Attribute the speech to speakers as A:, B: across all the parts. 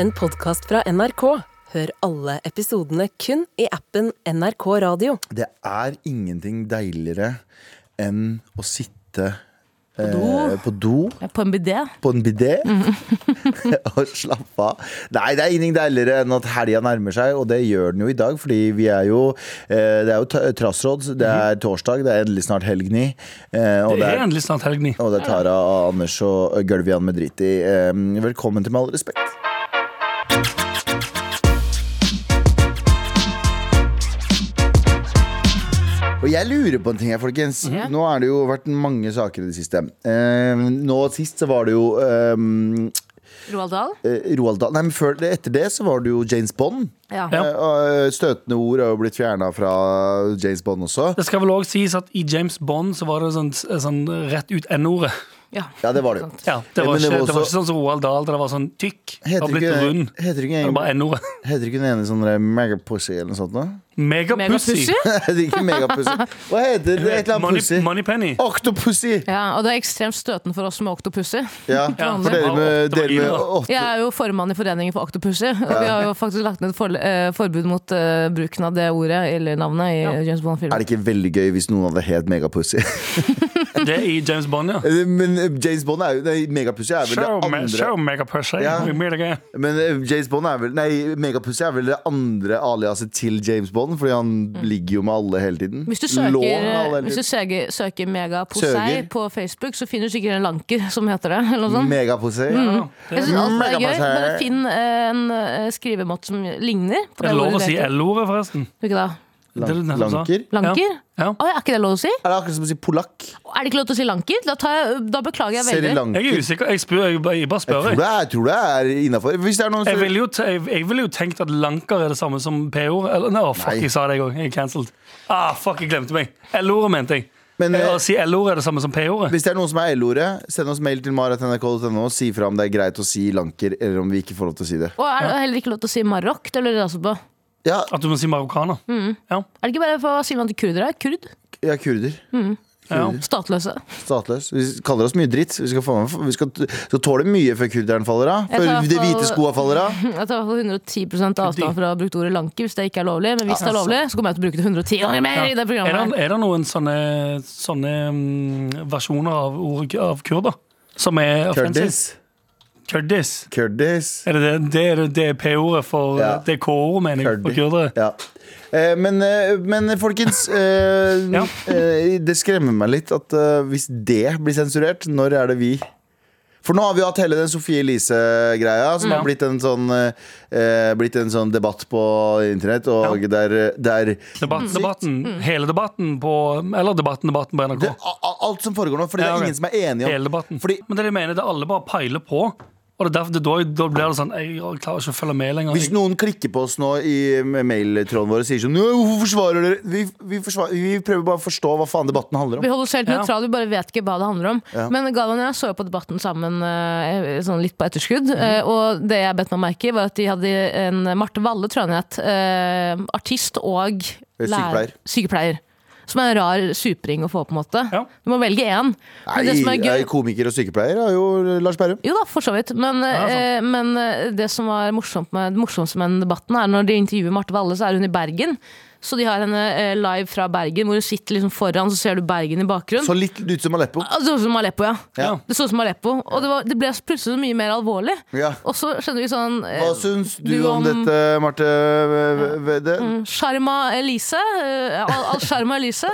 A: en podkast fra NRK. Hør alle episodene kun i appen NRK Radio.
B: Det er ingenting deiligere enn å sitte på
C: do.
B: på, do,
C: På en bidé.
B: på en bidé og slappe av. Nei, det er ingenting deiligere enn at helga nærmer seg, og det gjør den jo i dag. Fordi vi er jo eh, Det er jo t- trassråd, det er torsdag, det er endelig snart helg ni. eh, og
D: Det er endelig snart helg, ni.
B: og det er Tara og Anders og Gølvian med drit i. Eh, Velkommen til Med all respekt. Og jeg lurer på en ting her, folkens. Nå har det jo vært mange saker i det siste. Eh, nå sist så var det jo eh,
C: Roald Dahl.
B: Roald Dahl Nei, men før, etter det så var det jo James Bond.
C: Ja.
D: Ja.
B: Eh, og støtende ord er jo blitt fjerna fra James Bond også.
D: Det skal vel òg sies at i James Bond så var det sånn, sånn rett ut N-ordet.
C: Ja.
B: Ja, det var det jo.
D: Ja, det, var
B: Men det
D: ikke-
B: var
D: det var
B: også-
D: ikke sånn som Roald Dahl, der det var sånn tykk. Det
B: Heter
D: var blitt
B: ikke-
D: rund.
B: Heter ikke
D: Det var bare N-ordet.
B: Heter ikke den ene sånn der megapussy eller noe sånt? Da?
D: Megapussy.
C: Megapussy?
B: Heter ikke megapussy. Hva heter det? Et eller annet pussy?
D: Money- Moneypenny.
B: Octopussy!
C: Ja, og det er ekstremt støtende for oss med oktopussy.
B: Ja,
D: Ja,
B: for dere med,
D: det var
B: dere med
D: åtte-
B: åtte
C: Jeg er jo formann i Foreningen for oktopussy, og vi har jo faktisk lagt ned et for, eh, forbud mot eh, bruken av det ordet, eller navnet, i James
B: Er
C: Bond-filmen.
B: det ikke veldig gøy hvis noen hadde het megapussy?
D: Det er i James Bond, ja.
B: Men eh, James Bond er jo Nei, megapussy er vel det
D: Show, me,
B: andre
D: show megapussy.
B: Ja.
D: We meet again.
B: Men eh, James Bond er vel Nei, megapussy er vel det andre aliaset til James Bond, fordi han ligger jo med alle hele tiden.
C: Mm. Hvis du
B: Lå med
C: søker, eh,
B: alle
C: hvis
B: hele
C: du
B: tiden.
C: søker, søker Mega Posei
B: Søker.
C: på Facebook, så finner du sikkert en lanker som heter det. Eller noe sånt.
B: Megapussy.
C: Mm. Jeg synes alt er gøy,
B: Mega Posei.
C: men finn eh, en eh, skrivemåte som ligner. på
D: Det
C: det
D: er lov å
C: ordet
D: si
C: dere-
D: L-ordet, forresten.
C: Ikke da?
B: Lan-
D: Det er det nettopp sa.
B: Lanker?
C: Lanker?
D: Ja.
C: Å, er ikke det lov å si?
B: Er det akkurat som å si polakk?
C: Er det ikke lov til å si lanker? Da, tar jeg, da beklager jeg
B: Sri
C: veldig.
B: Lanka?
D: Jeg er usikker. Jeg, spør, jeg, bare- jeg bare spør.
B: Mm. Tror
D: Jeg,
B: det er, tror det er innafor. Hvis det er noen
D: jeg
B: som
D: ville jo, te- jeg- jeg ville jo tenkt at lanker er det samme som P-ord. Eller, no, fuck,
B: Nei.
D: jeg sa det, jeg òg. Jeg er cancelled. Ah, fuck, jeg glemte meg. L-ordet mente jeg.
B: Men,
D: Eh,
B: eh,
D: Å si L-ordet er det samme som P-ordet.
B: Hvis det er noen som er L-ordet, send oss mail til maratnrk.no og si fra om det er greit å si lanker, eller om vi ikke får lov til å si det.
C: Og er det heller ikke lov til å si Marokk? Det lurer jeg også på.
B: Ja,
D: At du må si marokkaner.
B: Mm.
D: Ja.
C: Er det ikke bare for å si man til kurdere? Kurd?
B: jeg er kurder.
D: Ja.
C: Statløse.
B: Statløs. Vi kaller oss mye dritt. Vi skal, få med, vi skal, skal tåle mye før kurderen faller av.
C: Jeg tar
B: Før
C: i hvert
B: de hvite
C: fall-
B: skoa faller av.
C: Jeg tar i hvert fall 110 avstand fra å bruke ordet lanke hvis det ikke er lovlig. Men hvis det er lovlig, så kommer jeg til å bruke det 110 ganger mer i det
D: Er,
C: programmet.
D: det, er det noen sånne, sånne mm, versjoner av ordet av kurder? Som er
B: Kurdis.
D: offensive? Kurdis.
B: Kurdis.
D: Er det det, det, er det, det er P-ordet for
B: Ja.
D: Det er K-ordet, mener jeg, for
B: Kurdi.
D: kurdere.
B: Ja. Eh, Men, eh, men folkens, eh,
D: Ja.
B: eh, det skremmer meg litt at eh, hvis det blir sensurert, når er det vi? For nå har vi jo hatt hele den Sofie Elise-greia,
D: Mm.
B: som har blitt en, sånn, eh, blitt en sånn debatt på internett. Og der, der
D: Debatten, debatten,
C: Mm.
D: hele debatten på Eller debatten, debatten på NRK.
B: det, a- a- Alt som foregår nå, fordi
D: Ja,
B: det
D: ok.
B: er ingen som er enige
D: hele
B: om
D: debatten.
B: Fordi
D: Men det de mener, det er alle bare peiler på. Og det er derfor, det, da, da blir det sånn Jeg klarer ikke å følge med lenger.
B: Hvis noen klikker på oss nå i mailtråden vår og sier sånn «Nå, Hvorfor forsvarer dere vi, vi, forsvarer, vi prøver bare å forstå hva faen debatten handler om.
C: Vi holder oss helt
D: Ja.
C: nøytrale, vi bare vet ikke hva det handler om.
B: Ja.
C: Men Galvan og jeg så jo på Debatten sammen eh, sånn litt på etterskudd.
B: Mhm.
C: eh, Og det jeg bet meg merke i, var at de hadde en Marte Valle, tror jeg han het, eh, artist og lærer-
B: Sykepleier.
C: sykepleier. Som er en rar supering å få, på en måte.
D: Ja.
C: Du må velge én. Men det som
B: Nei,
C: er gøy
B: jeg er komiker og sykepleier er jo Lars Berrum.
C: jo da, for så vidt. Men,
D: Ja, sant.
C: eh, men eh, det som var morsomt med, morsomt med den debatten, er når de intervjuer Marte Valle, så er hun i Bergen. Så de har henne eh, live fra Bergen, hvor hun sitter liksom foran, så ser du Bergen i bakgrunnen.
B: Så litt ut som Aleppo.
C: Ah, Det så ut som Aleppo, ja.
B: Ja.
C: Det så ut som Aleppo, og det, var, det ble plutselig så mye mer alvorlig.
B: Ja.
C: Og så skjønner vi sånn eh,
B: Hva syns du,
C: du
B: om,
C: om- Mm.
B: dette, Marte V- Vedde?
C: Sharma Elise. eh, Al- Al-Sharma Elise.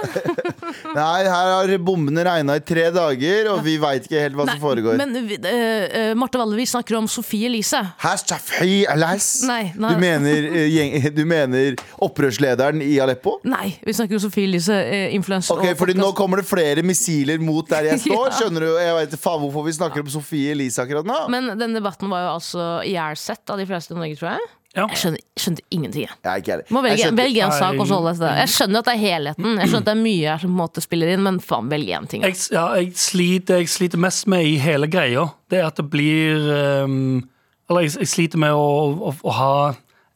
B: Nei, her har bombene regna i tre dager, og vi veit ikke helt hva som foregår.
C: Men vi- eh, eh, Marte Valle, vi snakker om Sofie Elise.
B: Her, Shafi, alas.
C: Nei, nei.
B: Du mener, eh, gjeng, du mener opprørslederen i Aleppo?
C: Nei, vi snakker om Sofie Elise, eh, influenser
B: Ok, fordi Nå kommer det flere missiler mot der jeg står.
C: Ja.
B: Skjønner du? Jeg vet faen hvorfor vi snakker om Sofie Elise akkurat nå.
C: Men den debatten var jo altså ihjelsett av de fleste i Norge, tror jeg.
D: Ja.
C: Jeg skjønte, skjønte ingenting, jeg.
B: Jeg er ikke ærlig.
C: Må velge,
B: Jeg skjønte-
C: velge en sak
D: Nei.
C: og så holde seg til det. Jeg skjønner at det er helheten. Jeg skjønner at det er mye her som på en måte spiller inn, men faen, velg én ting.
D: Jeg, ja, jeg, sliter, jeg sliter mest med i hele greia, det er at det blir ehm, Eller jeg, jeg sliter med å, å, å ha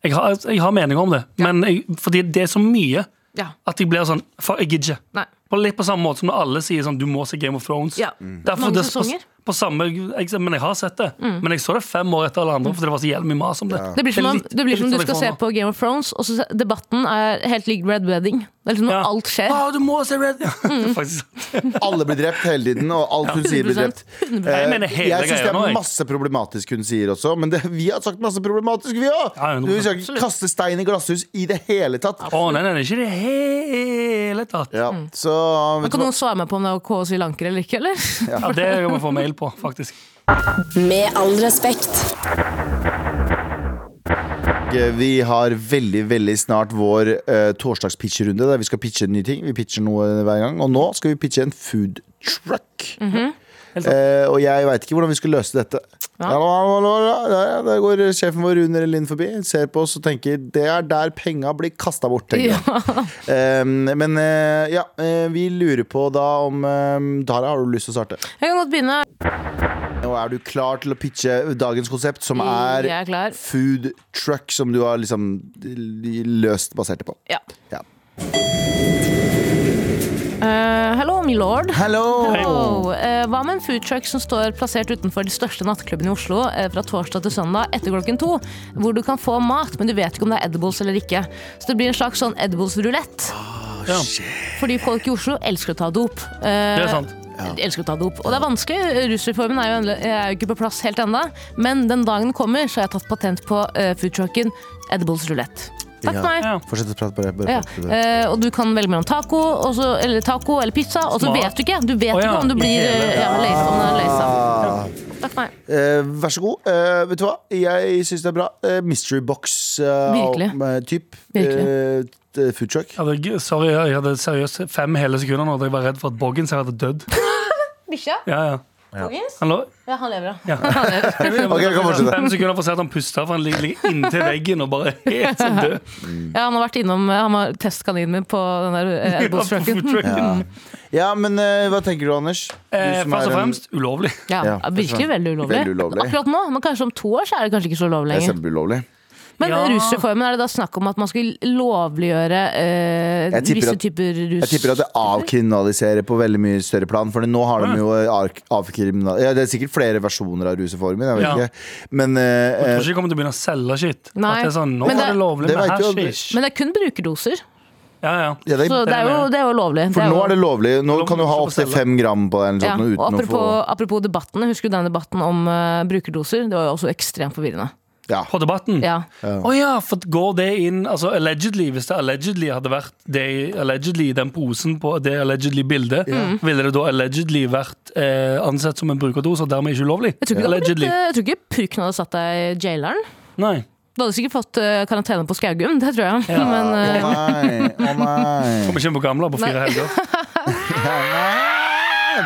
D: jeg har, jeg har meninger om det, men jeg, fordi det er så mye
C: Ja.
D: at jeg blir sånn for Jeg gidder ikke.
C: Nei.
D: På litt på samme måte som når alle sier sånn, du må se Game of Thrones.
C: Ja.
D: Derfor
C: Mange
D: det- på-
C: sesonger. Mm.
D: På samme, jeg, men jeg har sett det. Men jeg så det fem år etter alle andre, fordi det var så jævlig mye mas om det.
C: Det blir som,
D: er
C: om-
D: litt-
C: det blir
D: litt
C: som du
D: sånn jeg
C: skal
D: får
C: se
D: nå.
C: på Game of Thrones, og så se- debatten er helt lik Red Wedding. Det er liksom når
D: Ja. Ah.
C: alt skjer.
D: Å, du må se Red Mm. ja, faktisk.
B: Alle blir drept hele tiden, og alt hun sier blir drept. Eh,
C: 100%.
D: Jeg mener hele
B: jeg syns det
D: greia nå,
B: er
D: jeg.
B: masse problematisk hun sier også, men det, vi har sagt masse problematisk, vi òg!
D: Ja, 100%.
B: vi skal ikke kaste stein i glasshus i det hele tatt.
D: Å, nei, nei, nei, ikke i det hele tatt.
B: Ja, så
C: Men
B: vet du
C: Kan
B: hva?
C: noen svare meg på om det er OK å si lanker eller ikke? eller?
D: Ja, det kan vi få mail på, faktisk.
A: Med all respekt.
B: eh, Vi har veldig veldig snart vår uh, torsdagspitcherunde, der vi skal pitche en ny ting. Vi pitcher noe eh, hver gang. Og nå skal vi pitche en food truck.
D: Mhm. Helt sant.
B: Eh, og jeg veit ikke hvordan vi skal løse dette. Hallo, hallo, hallo, hallo. Ja, ja, Der går sjefen vår Rune Lind forbi, ser på oss og tenker det er der penga blir kasta bort. tenker jeg. Eh, men eh, ja, eh, vi lurer på da om eh, Dara, har du lyst til å starte?
C: Jeg kan godt begynne.
B: Og er du klar til å pitche dagens konsept, som er
C: Jeg er klar.
B: food truck, som du har liksom løst basert det på?
C: Ja.
B: Ja.
C: Eh, hello, my lord.
B: Hello!
C: Wow. Eh, hva med en foodtruck som står plassert utenfor de største nattklubbene i Oslo eh, fra torsdag til søndag etter klokken to, hvor du kan få mat, men du vet ikke om det er edibles eller ikke. Så det blir en slags sånn edibles-rulett.
D: Ja,
C: Fordi folk i Oslo elsker å ta dop. Eh,
D: det er sant.
C: De elsker å ta dop. Og det er vanskelig. Rusreformen er jo, endelig- er jo ikke på plass helt ennå. Men den dagen kommer, så har jeg tatt patent på eh, foodtrucken Edibles Rulett. Takk
B: Ja.
C: for meg.
D: Ja.
B: Fortsett å prate på det.
C: Ja.
B: Bare prate på det.
C: Eh, og du kan velge mellom taco, og så- eller, taco eller pizza, og så
D: Smart.
C: vet du ikke. Du vet
D: Å, ja.
C: ikke om du
D: I
C: blir
D: hele-
C: eh, ja, løysa. Om det er løysa.
B: Ah.
C: Takk for meg.
B: Eh, vær så god. Eh, vet du hva? Jeg syns det er bra. Eh, mystery eh,
C: Virkelig.
B: box-type.
C: Virkelig.
B: eh, food truck.
D: Jeg hadde, sorry, jeg hadde seriøst fem hele sekunder nå da jeg var redd for at Boggins her hadde dødd.
C: Bikkja?
D: Ja, ja. Han lå
C: Ja, han lever,
D: ja.
C: ja.
B: Ok, jeg kan fortsette.
D: Fem sekunder for å se at han puster, for han ligger, ligger inntil veggen og bare helt sånn død.
B: Mm.
C: ja. Han har vært innom eh, Han var testkaninen min på den der eh,
D: Ja,
C: edibles
D: på
C: trucken.
D: food trucken.
B: Ja. ja, men eh, hva tenker du, Anders? Du
D: Eh,
B: som
D: først og
B: er en-
D: fremst ulovlig.
C: Ja,
B: Ja,
C: virkelig
B: forstår.
C: veldig ulovlig.
B: Veldig ulovlig.
C: Akkurat nå, men kanskje om to år så er det kanskje ikke så ulovlig
B: Det er
C: lenger.
B: kjempeulovlig.
C: Men
D: Ja.
C: rusreformen, er det da snakk om at man skulle lovliggjøre eh,
B: Jeg tipper
C: visse
B: at-
C: typer rus?
B: Jeg tipper at det avkriminaliserer på veldig mye større plan. For nå har de jo ark- avkriminal... Ja, det er sikkert flere versjoner av ruseformen. Jeg vet
D: Ja.
B: ikke. Men eh,
D: Jeg tror ikke de kommer til å begynne å selge shit.
C: Nei.
D: At det er sånn, nå
C: Men det-
D: er det lovlig
B: Det
D: med
B: vet jo-
D: hashish.
C: Men det er kun brukerdoser,
D: Ja, ja.
B: ja, det,
C: så det er jo, det er jo lovlig.
B: for nå er det lovlig. Nå
D: Nå
B: kan du ha
D: må du
B: opptil
D: selge.
B: fem gram på deg.
C: ja.
B: Eller noe
C: Og
B: sånt, nå, uten
C: apropos,
B: å få
C: apropos debatten, husker du den debatten om eh, brukerdoser? Det var jo også ekstremt forvirrende.
B: ja.
D: På debatten?
B: Mm.
D: Å ja.
C: Ja.
D: for går det inn altså allegedly, Hvis det allegedly hadde vært det i- allegedly i den posen på det allegedly bildet,
C: Mm.
D: ville det da allegedly vært eh, ansett som en brukerdose og dermed ikke ulovlig?
C: Jeg tror ikke, det hadde blitt,
D: Allegedly.
C: eh, jeg tror ikke purken hadde satt deg i jaileren.
D: Nei.
C: Du hadde sikkert fått eh, karantene på Skaugum, det tror jeg.
D: Ja.
C: Men
B: Å
C: eh,
B: nei, å nei.
D: Kommer ikke inn på gamla på fire helger.
B: Ja, nei.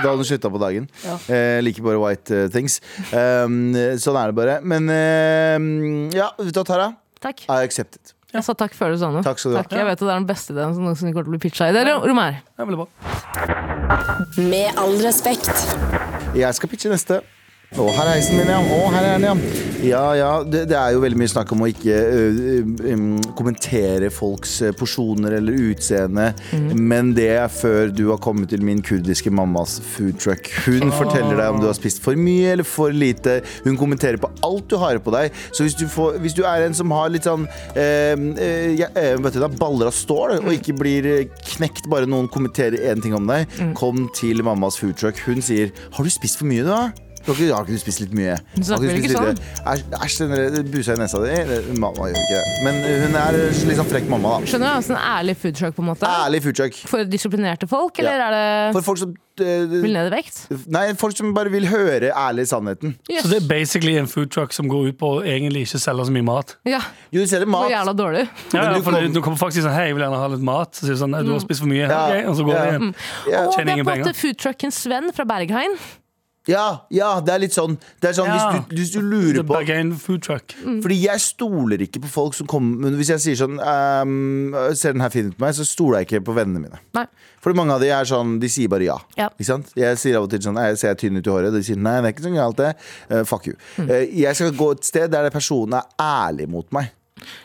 B: Da hadde du slutta på dagen. Eh, liker bare white eh, things. Um, sånn er det bare. Men eh, ja, vet du hva, Tara?
C: takk.
B: I accept it.
C: Jeg sa takk før du sa noe.
B: Takk skal du ha.
C: Jeg vet at det er den beste ideen som noensinne kommer til å bli pitcha i. Det er rom her.
D: Det er veldig bra.
A: Med all respekt.
B: Jeg skal pitche neste. Å, her er heisen min, ja. Å, her er den, ja. Ja, ja. Det, det er jo veldig mye snakk om å ikke ø, ø, um, kommentere folks ø, porsjoner eller utseende. Men det er før du har kommet til min kurdiske mammas foodtruck. Hun forteller deg om du har spist for mye eller for lite. Hun kommenterer på alt du har på deg. Så hvis du, får, hvis du er en som har litt sånn ø, ø, ja, ø, vet du, da, baller av stål,
C: Mm.
B: og ikke blir ø, knekt bare noen kommenterer én ting om deg,
C: Mm.
B: kom til mammas foodtruck. Hun sier 'Har du spist for mye, du, da?' Du har ikke, har ikke du spist litt mye? Har
C: snakker
B: ikke du
C: vel
B: spist
C: ikke sånn?
B: litt- Æsj, æsj, den der busa i nesa di. Det- Mamma gjør ikke det. Men eh, hun er litt sånn frekk mamma, da.
C: Skjønner du? Altså en ærlig foodtruck, på en måte.
B: Ærlig foodtruck.
C: For disiplinerte folk, eller
B: Ja.
C: er det
B: For folk som
C: vil
B: eh,
C: ned i vekt?
B: Nei, folk som bare vil høre ærlig sannheten.
D: Så det er basically en food truck som går ut på å egentlig ikke selge så mye mat.
C: Ja,
B: Jo, du selger
C: så
B: mat.
C: jævla dårlig.
D: Ja,
B: Men
D: ja,
B: du
D: for
B: kom-
D: du kommer faktisk sånn Hei, jeg vil gjerne ha litt mat. Så sier du sånn «Nei, Du har
C: Mm.
D: spist for mye.
B: Ja.
D: Ok, og så går
B: Ja.
D: det igjen.
B: Ja.
D: Tjener
C: Og det er på
D: ingen
C: en måte
D: penger.
C: foodtruckens venn fra Berghain.
B: Ja, ja, det er litt sånn, det er sånn
D: Ja.
B: hvis, du, hvis du lurer
D: The
B: på
D: Bergain food truck.
B: Fordi jeg stoler ikke på folk som kommer men Hvis jeg sier sånn ehm, Ser den her fin ut på meg, så stoler jeg ikke på vennene mine.
C: Nei.
B: For mange av de er sånn, de sier bare ja.
C: Ja.
B: Ikke sant? Jeg sier av og til sånn, «Nei, jeg ser tynn ut i håret. De sier nei, det er
C: Mm.
B: ikke så galt det. Eh, fuck you. Eh, jeg skal gå et sted der den personen er ærlig mot meg.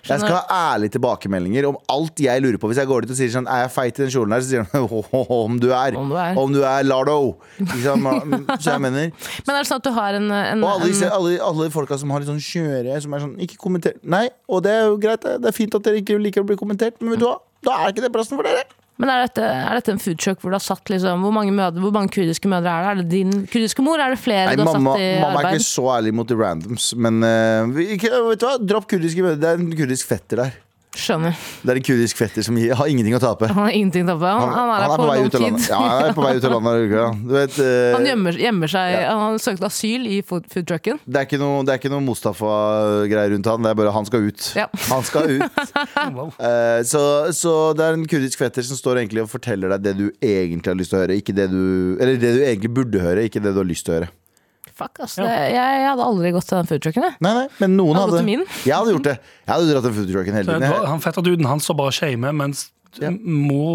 B: Jeg skal ha ærlige tilbakemeldinger om alt jeg lurer på. Hvis jeg går dit og sier sånn Er jeg feit i den kjolen her? Så sier de «Åhåhå, om du er.
C: Om du er.
B: Om du er Lardo. Ikke sant? Så jeg mener
C: Men er det sånn at du har en, en,
B: Og alle, disse,
C: en
B: alle, alle folka som har litt sånn kjøre, som er sånn Ikke kommenter. Nei, og det er jo greit, det. Det er fint at dere ikke liker å bli kommentert, men vet du hva? Da er ikke det plassen for dere.
C: Men er dette, er dette en food truck hvor du har satt liksom Hvor mange, mødre, hvor mange kurdiske mødre er det? Er det din kurdiske mor? Er det flere
B: Nei,
C: du har
B: mamma,
C: satt i
B: mamma er
C: arbeid?
B: ikke så ærlig mot de randoms, men eh, vi- ikke, vet du hva? Dropp kurdiske mødre. Det er en kurdisk fetter der.
C: Skjønner.
B: Det er en kurdisk fetter som gir- har ingenting å tape.
C: Han har ingenting å tape. Han, han er
B: han
C: her
B: på
C: på
B: vei
C: lang
B: ut av landet.
C: tid.
B: Ja, han er på vei ut av landet. ja. Du vet, eh,
C: Han gjemmer, gjemmer seg. Han har søkt asyl i food food trucken.
B: det er ikke noe, det er ikke noe Mustafa-greier rundt han. Det er bare han skal ut.
C: Ja.
B: Han skal ut.
C: Mm.
D: Wow.
B: Eh, så, så det er en kurdisk fetter som står egentlig og forteller deg det du egentlig har lyst til å høre. Ikke det du, eller det du egentlig burde høre, ikke det du har lyst til å høre.
C: Fuck, ass. Det, jeg, jeg hadde aldri gått til den food trucken, jeg.
B: Nei, nei, men noen hadde
C: Hadde du gått til min?
B: Jeg hadde gjort det. Jeg hadde dratt den foodtrucken hele tiden. Jeg-
D: Han fetter duden, han står bare og shamer, mens
B: Ja.
D: mor,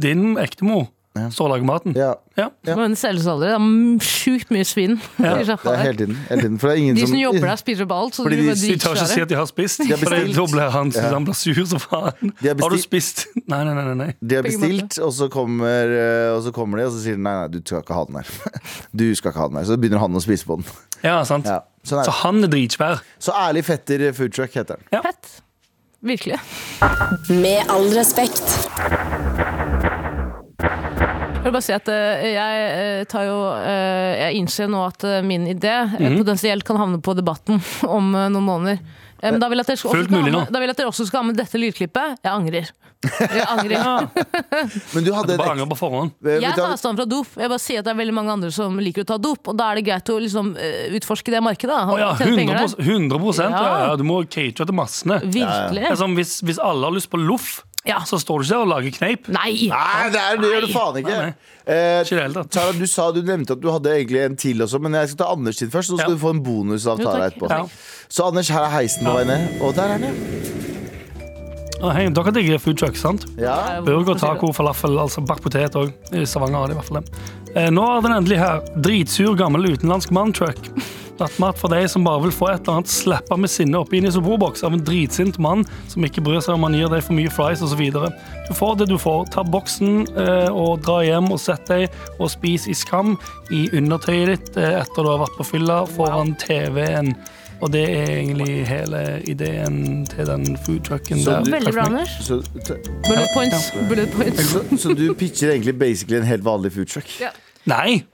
D: din ektemor står og lager maten.
B: Ja,
D: Ja.
B: Ja.
C: Men det selges aldri. Det er m- sjukt mye svin. i
B: det er
C: sjappa der.
B: hele tiden. Hele tiden. For det er ingen
C: De som
B: som
C: jobber der, spiser opp alt. Så
B: Fordi
C: de,
B: de-
C: blir bare
D: De tør ikke
C: dritsvære.
D: si at de har spist.
B: har
D: For det-
B: bestilt.
D: da blir han, han blir sur som faen.
B: De har
D: Har du
B: bestilt.
D: spist? Nei, nei, nei. nei.
B: De har
C: Begge
B: bestilt, og så, kommer, eh, og så kommer de og så sier de nei, nei, du skal ikke ha den her. Du skal ikke ha den her. Så begynner han å spise på den.
D: Ja, sant.
B: Ja. Sånn er
D: Så
B: det.
D: han er dritsvær.
B: Så ærlig fetter eh, foodtruck heter den.
C: Fett. Virkelig.
A: Med all respekt.
C: Jeg vil bare si at eh, jeg eh, tar jo eh, Jeg innser nå at eh, min idé
D: Mhm.
C: eh, potensielt kan havne på Debatten om eh, noen måneder. Eh, Men da vil jeg at dere skal- også
D: Fullt
C: skal ha
D: mulig nå.
C: med- da vil jeg at dere også skal ha med dette lydklippet. Jeg angrer. Jeg angrer.
B: Men du
D: Du
B: hadde en
D: bare
B: ekstra
D: angrer på forhånd.
B: Eh, Vet
C: Jeg
B: du
C: tar
B: hva-
C: avstand fra dop. Jeg bare sier at det er veldig mange andre som liker å ta dop, og da er det greit å liksom eh, utforske det markedet. da.
D: Å ja,
C: Tjene penger
D: 100,
C: der.
D: 100 ja.
C: Ja.
D: Ja, Du må catere til massene. Det er
C: Virkelig.
D: sånn, hvis, hvis alle har lyst på loff,
C: Ja.
D: så står du ikke der og lager kneip.
C: Nei!
B: Nei, det, er, det gjør du faen ikke.
D: Nei,
B: Eh,
D: Ikke i det hele tatt.
B: Tara, du sa du nevnte at du hadde egentlig en til også, men jeg skal ta Anders sin først. Så skal
D: Ja.
B: du få en bonus av
C: Jo,
B: Tara
C: takk.
B: etterpå.
D: Ja.
B: Så Anders, her er heisen på vei ned. Og der er den,
D: Å, hei, dere digger food truck, sant?
B: ja.
C: Eh,
B: ja.
D: Burger, taco, falafel, altså bakt potet òg. I Stavanger har de i hvert fall det. Eh, nå er den endelig her. Dritsur gammel utenlandsk manntruck. Nattmat for deg som bare vil få et eller annet slappa med sinne oppi en isoborboks av en dritsint mann som ikke bryr seg om han gir deg for mye fries osv. Du får det du får. Ta boksen eh, og dra hjem og sett deg og spis i skam i undertøyet ditt eh, etter du har vært på fylla foran TV-en. Og det er egentlig hele ideen til den foodtrucken
B: Så
D: der.
B: du-
D: Takk for
C: Veldig bra,
D: meg.
C: Anders.
B: Så, t-
C: Bullet points. Bullet points.
B: så, så du pitcher egentlig basically en helt vanlig foodtruck?
C: Ja.
D: Nei.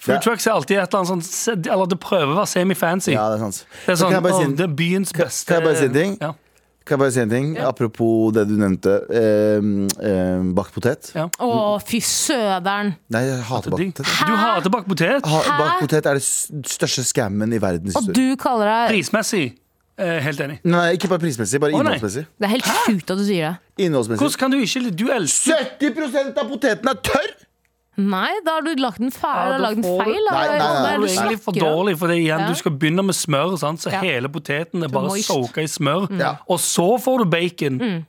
B: Det-
D: Food trucks er alltid et eller annet sånn se- Eller det prøver å være semi-fancy.
B: Ja, det er sant.
D: Det er
B: Så
D: sånn,
B: kan jeg bare si
D: «Å,
B: en-
D: det er byens
B: kan-
D: beste
B: kan jeg bare si en ting?
D: Ja.
B: Kan jeg bare si en ting? Apropos det du nevnte. Eh, eh, bakt potet.
D: Ja.
C: Å, fy søderen.
B: Nei, jeg hater bakt potet.
D: Du hater bakt potet.
B: Ha, bakt potet er det s- største scammen i verdens
C: Og
B: historie.
C: du kaller deg
D: Prismessig. Eh, helt enig.
B: Nei, ikke bare prismessig, bare
D: Å, nei.
B: innholdsmessig.
C: Det er helt sjukt at du sier det.
B: innholdsmessig.
D: Hvordan kan du ikke li- Du elsker
B: 70 av poteten er tørr!
C: Nei, da har du lagd en feil.
D: Ja,
C: Ja,
D: da
C: lagd en
D: får du-
C: feil da.
B: Nei, nei, nei,
C: Hva
D: det
C: er
D: er
C: det
D: jo
C: du
D: egentlig for
C: snakker om?
D: dårlig, for det er igjen,
C: Ja.
D: du skal begynne med smør, sant? så
C: Ja.
D: hele poteten er
C: Du må Mm.
D: bare
C: ikke-
D: soka i smør.
B: Ja.
D: Og så får du bacon.
C: Mm.